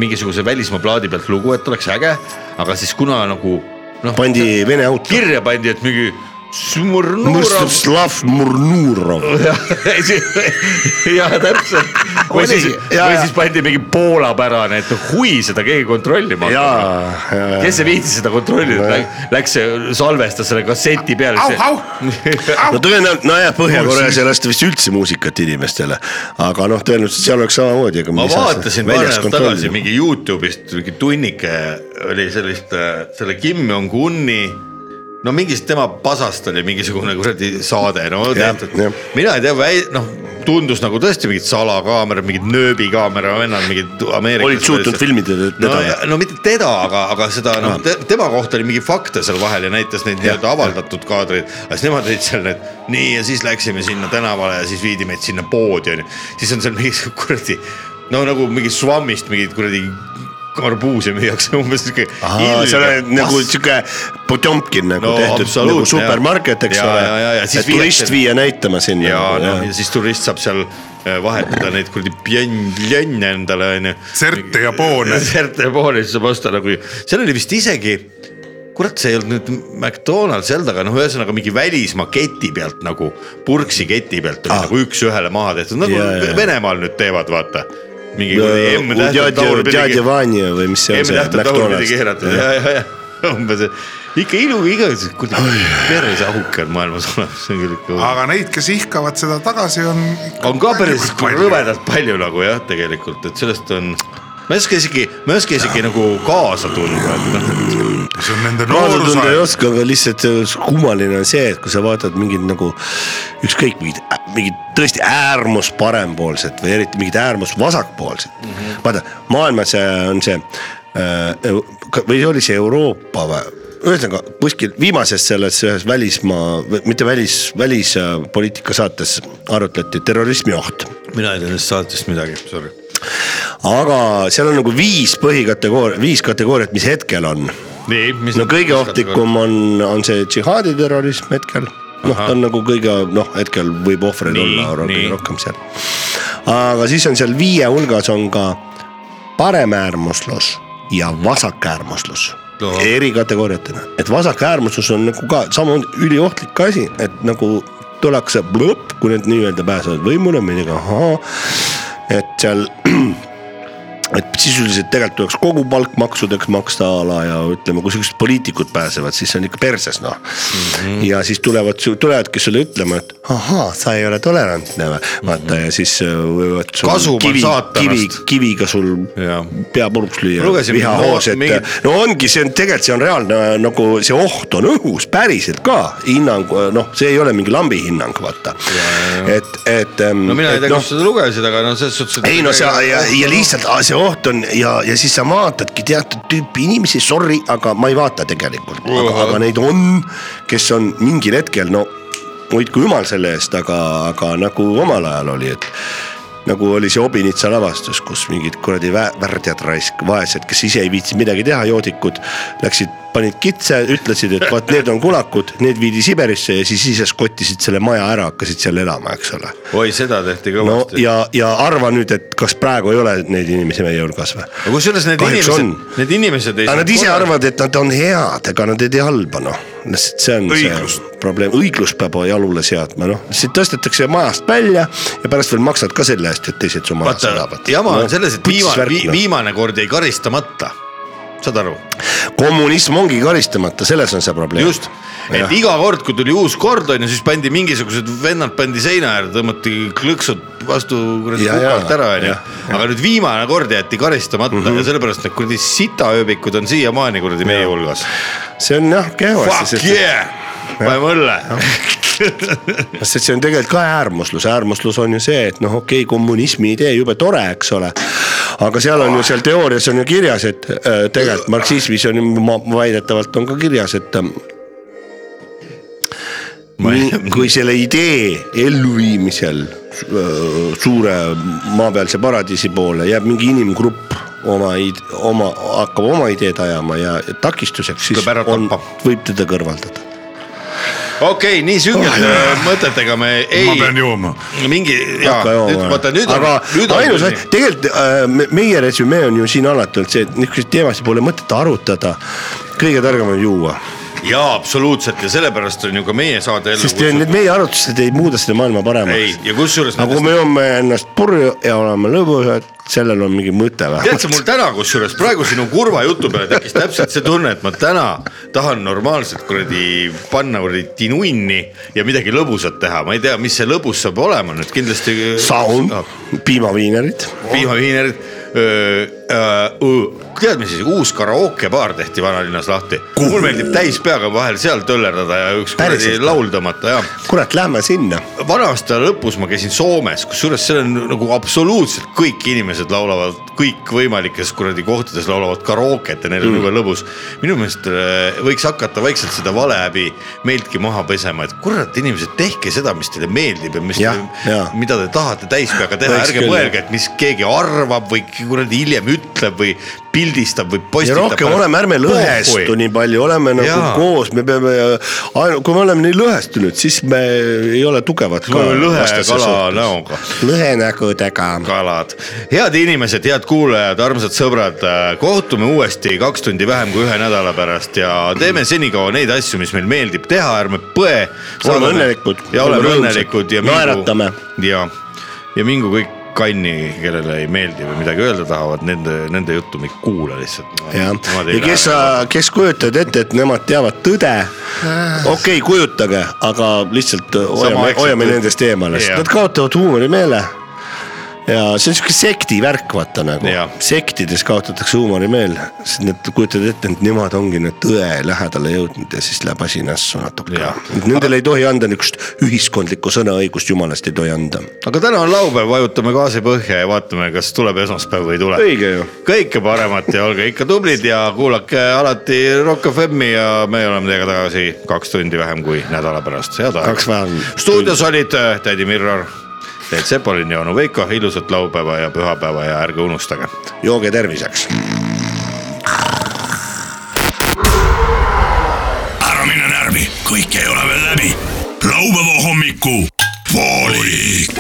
B: mingisuguse välismaa plaadi pealt lugu , et oleks äge , aga siis kuna nagu noh ,
C: pandi vene auto .
B: kirja pandi , et mingi . [LAUGHS]
C: Mrslav Murnurov ,
B: jah ,
D: [LAUGHS]
B: täpselt . või siis ,
C: jaa,
B: või
C: jaa.
B: siis pandi mingi poolapärane , et noh, hui seda keegi kontrollima hakkab
C: jaa , jaa ,
B: kes see viitsis seda kontrollida , läks , salvestas selle kasseti peale .
D: au , au ,
C: no tõenäoliselt , nojah , Põhja-Koreas ei lasta vist üldse muusikat inimestele , aga noh , tõenäoliselt seal oleks samamoodi .
B: ma vaatasin paar nädalat tagasi mingi Youtube'ist mingi tunnike oli sellist , selle Kim Jong-uni , no mingist tema pasast oli mingisugune kuradi saade , no
C: Jah,
B: tehtud
C: jah. ,
B: mina ei tea , noh tundus nagu tõesti mingid salakaamerad , mingid nööbikaamera vennad , mingid Ameerika .
C: olid suutnud filmida te-
B: no,
C: teda või ?
B: no mitte teda , aga , aga seda noh te, , tema kohta oli mingi fakte seal vahel ja näitas neid nii-öelda avaldatud kaadreid , aga siis nemad olid seal need . nii ja siis läksime sinna tänavale ja siis viidi meid sinna poodi onju , siis on seal mingi [LAUGHS] sihuke kuradi no nagu mingi svammist mingid kuradi karbuuse müüakse [LAUGHS] umbes sihuke .
C: Aa, seal oli nagu sihuke Potomkin nagu
B: No
C: no, tehtud
B: absoluutne,
C: nagu supermarket , eks
B: jaa. Jaa,
C: ole
B: jaa, jaa, ja . siis
C: et turist
B: viiakse-
C: viia näitama sinna . nagu,
B: ja noh , ja siis turist saab seal äh, vahetada neid kuradi pjenn- , pjenne endale onju .
D: Serte ja poone.
B: serte ja poone , siis saab osta nagu , seal oli vist isegi , kurat , see ei olnud nüüd McDonalds olnud , aga noh , ühesõnaga mingi välismaa keti pealt nagu , purksi keti pealt oli ah. nagu üks-ühele maha tehtud , nagu
C: Jaa,
B: yeah,
C: jaa.
B: Venemaal nüüd teevad , vaata . mingi kuradi M tähtede taur pidi ,
C: Udjadjavanja või mis see on
B: M
C: see
B: tähtede taur pidi keeratud , ja , ja , ja [LAUGHS] umbes ikka iluga igasuguseid , kuradi perseauke on maailmas olemas , see on küll ikka .
E: aga neid , kes ihkavad seda tagasi , on .
B: on ka päris . rõvedalt palju nagu jah , tegelikult , et sellest on , ma ei oska isegi , ma ei oska isegi nagu kaasa tunda , et noh ,
D: see on nende
C: kaasa tunda ei
D: noorusaeg .
C: oska , aga lihtsalt äh, kummaline on see , et kui sa vaatad mingit nagu ükskõik mingit , mingit tõesti äärmus parempoolset või eriti mingit äärmus vasakpoolset mm . -hmm. vaata maailmas äh, on see äh, Eu- ka- või oli see Euroopa või , ühesõnaga kuskil viimases selles ühes välismaa , mitte välis , välispoliitika saates arutleti terrorismi ohtu
B: mina ei tea sellest saatest midagi , sorry .
C: aga seal on nagu viis põhikategooria , viis kategooriat , mis hetkel on .
B: nii , mis
C: no kõige ohtlikum on , on see džihaadi terrorism hetkel , noh , ta on nagu kõige noh , hetkel võib ohvreid
B: Nii,
C: olla ro-
B: nii.
C: kõige rohkem seal . aga siis on seal viie hulgas on ka paremäärmuslus ja vasakäärmuslus no.
B: Ahah.
C: eri kategooriatena , et vasakäärmuslus on nagu ka samamoodi üliohtlik asi , et nagu tullakse blõpp , kui need nii-öelda pääsevad võimule , millega ahaa , et seal et sisuliselt tegelikult tuleks kogu palk maksudeks maksta a la ja ütleme , kui siuksed poliitikud pääsevad , siis see on ikka perses noh mm .
B: Mhm.
C: -hmm. ja siis tulevad , tulevadki sulle ütlema , et ahaa , sa ei ole tolerantne või ,
B: Mhm.
C: vaata mm -hmm. ja siis äh, võivad sul
B: Kasum on saatanast.
C: kivi , kiviga sul
B: Jaa.
C: pea puruks lüüa
B: Ma , lugesin
C: vihahoos ,
B: mingi-
C: et mingi... no ongi , see on tegelikult , see on reaalne nagu see oht on õhus päriselt ka , hinnang , noh , see ei ole mingi lambi hinnang , vaata . et , et . noh,
B: no mina ei tea , kus sa seda lugesid , aga no selles suhtes .
C: ei no sa ja, ja lihtsalt aa, see oht on ja , ja siis sa vaatadki teatud tüüpi inimesi , sorry , aga ma ei vaata tegelikult , aga , aga neid on , kes on mingil hetkel no hoidku jumal selle eest , aga , aga nagu omal ajal oli , et nagu oli see Obinitsa lavastus , kus mingid kuradi vä- värdjad raisk , vaesed , kes ise ei viitsinud midagi teha , joodikud , läksid , panid kitse , ütlesid , et vot need on kulakud , need viidi Siberisse ja siis ise skottisid selle maja ära , hakkasid seal elama , eks ole .
B: oi , seda tehti
C: no
B: kõvasti no, .
C: ja , ja arva nüüd , et kas praegu ei ole neid inimesi meie hulgas või ?
B: aga kusjuures need
C: Kahjuks
B: inimesed
C: on. ,
B: need inimesed ei
C: aga nad ise . arvavad , et nad on head , ega nad ei tee halba , noh . lihtsalt see on
D: Õiglust.
C: see probleem , õiglus peab jalule seadma , noh . sind tõstetakse majast välja ja pärast veel maksad ka selle eest , et teised su majas
B: vaata
C: elavad .,
B: jama on selles , et
C: noh.
B: viimane , viimane kord jäi karistamata . saad aru ?
C: kommunism ongi karistamata , selles on see probleem .
B: just , et iga kord , kui tuli uus kord on ju , siis pandi mingisugused vennad pandi seina äärde , tõmmati klõksud vastu kuradi
C: Ja,
B: kukalt
C: ja,
B: ära on ju
C: jah, . Mhm.
B: aga nüüd viimane kord jäeti karistamata mm -hmm. ja sellepärast need kuradi sitaööbikud on siiamaani kuradi meie hulgas .
C: see on jah kehvasti ,
B: Fuck
C: sest
B: yeah , paneme õlle .
C: sest see on tegelikult ka äärmuslus , äärmuslus on ju see , et noh , okei okay, , kommunismi idee jube tore , eks ole . aga seal on ju seal teoorias on ju kirjas , et äh, tegelikult marksismis on ju ma- väidetavalt on ka kirjas , et ähm, nii- kui selle idee elluviimisel öö, suure maapealse paradiisi poole jääb mingi inimgrupp oma , oma , hakkab oma ideed ajama ja takistuseks , siis
B: Tuleb ära
C: on
B: tappa. ,
C: võib teda kõrvaldada .
B: okei , nii
C: Oh,
B: süngete mõtetega me ei .
D: ma pean jooma .
B: mingi ja
C: hakka jooma .
B: nüüd vaata nüüd on
C: aga ,
B: nüüd on
C: ainus , tegelikult äh, me- meie resümee on ju siin alati olnud see , et niisuguseid teemasid pole mõtet arutada . kõige targem on juua ,
B: jaa , absoluutselt ja sellepärast on ju ka meie saade ellu
C: sest te- need
B: kutsutud .
C: meie arutlused ei muuda seda maailma
B: Nagu ei
C: paremaks .,
B: ja kusjuures .
C: aga kui me joome ennast purju ja oleme lõbusad , sellel on mingi mõte
B: tead sa mul
C: vähemalt .
B: täna kusjuures praegu sinu kurva jutu peale tekkis täpselt see tunne , et ma täna tahan normaalselt kuradi panna kuradi tinunni ja midagi lõbusat teha , ma ei tea , mis see lõbus saab olema nüüd kindlasti .
C: saun , piimaviinerid ,
B: piimaviinerid . tead , mis siis uus karookebaar tehti vanalinnas lahti , mul meeldib täis peaga vahel seal töllerdada ja üks kuradi
C: Päriselt või?
B: laul tõmmata ja
C: kurat , lähme sinna .
B: vana aasta lõpus ma käisin Soomes , kusjuures seal on nagu absoluutselt kõik inimesed laulavad kõikvõimalikes kuradi kohtades laulavad karooket ja neil on jube mm. lõbus . minu meelest äh, võiks hakata vaikselt seda valehäbi meiltki maha pesema , et kurat , inimesed , tehke seda , mis teile meeldib ja mis
C: Jah, , jaa.
B: mida te tahate täis peaga teha ,
C: Võiks
B: ärge
C: küll,
B: mõelge , et mis keegi arvab või kuradi hiljem ütleb või pildistab või
C: ja
B: postitab .
C: rohkem oleme , ärme lõhestu . nii palju , oleme nagu
B: Jaa.
C: ja. koos , me peame , kui me oleme nii lõhestunud , siis me ei ole tugevad .
B: me oleme lõhe kala näoga .
C: lõhenägudega .
B: kalad , head inimesed , head kuulajad , armsad sõbrad , kohtume uuesti kaks tundi vähem kui ühe nädala pärast ja teeme senikaua neid asju , mis meil meeldib teha , ärme põe .
C: õnnelikud,
B: ja
C: oleme
B: oleme
C: rõõmsad,
B: õnnelikud ja .
C: naeratame. .
B: ja , ja mingu kõik kanni , kellele ei meeldi või midagi öelda tahavad , nende , nende juttu me ei kuula lihtsalt .
C: jah , ja kes , kes kujutavad ette , et nemad teavad tõde , okei okay, , kujutage , aga lihtsalt äh, hoiame ,
B: Samaaegselt-
C: hoiame nendest eemale , sest
B: Jah.
C: nad kaotavad huumorimeele . ja see on sihuke sekti värk , vaata nagu
B: Jah. ,
C: sektides kaotatakse huumorimeel , sest nad kujutavad ette , et nemad ongi nüüd tõe lähedale jõudnud ja siis läheb asi nässu natuke
B: Jah. .
C: Nendele ei tohi anda niisugust ühiskondlikku sõnaõigust , jumalast ei tohi anda .
B: aga täna on laupäev , vajutame gaasi põhja ja vaatame , kas tuleb esmaspäev või ei tule .
C: Õige ju.
B: kõike paremat ja olge ikka tublid ja kuulake alati Rock FM-i ja me oleme teiega tagasi kaks tundi vähem kui nädala pärast , head
C: Kaks
B: aega
C: vähem. .
B: stuudios olid äh, tädi Mirror , Teet Sepolin ja onu Veiko , ilusat laupäeva ja pühapäeva ja ärge unustage .
C: jooge terviseks .
G: ära mine närvi , kõik ei ole veel läbi . laupäeva hommiku poolik .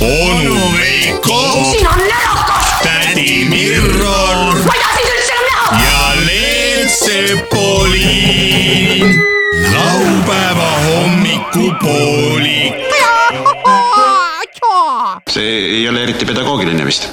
G: onu Veiko ,
H: siin on närakas ,
G: tädi Mirro
H: ma ei taha sind üldse enam näha .
G: ja Leet Sepolin . laupäeva hommiku poolik .
I: see ei ole eriti pedagoogiline vist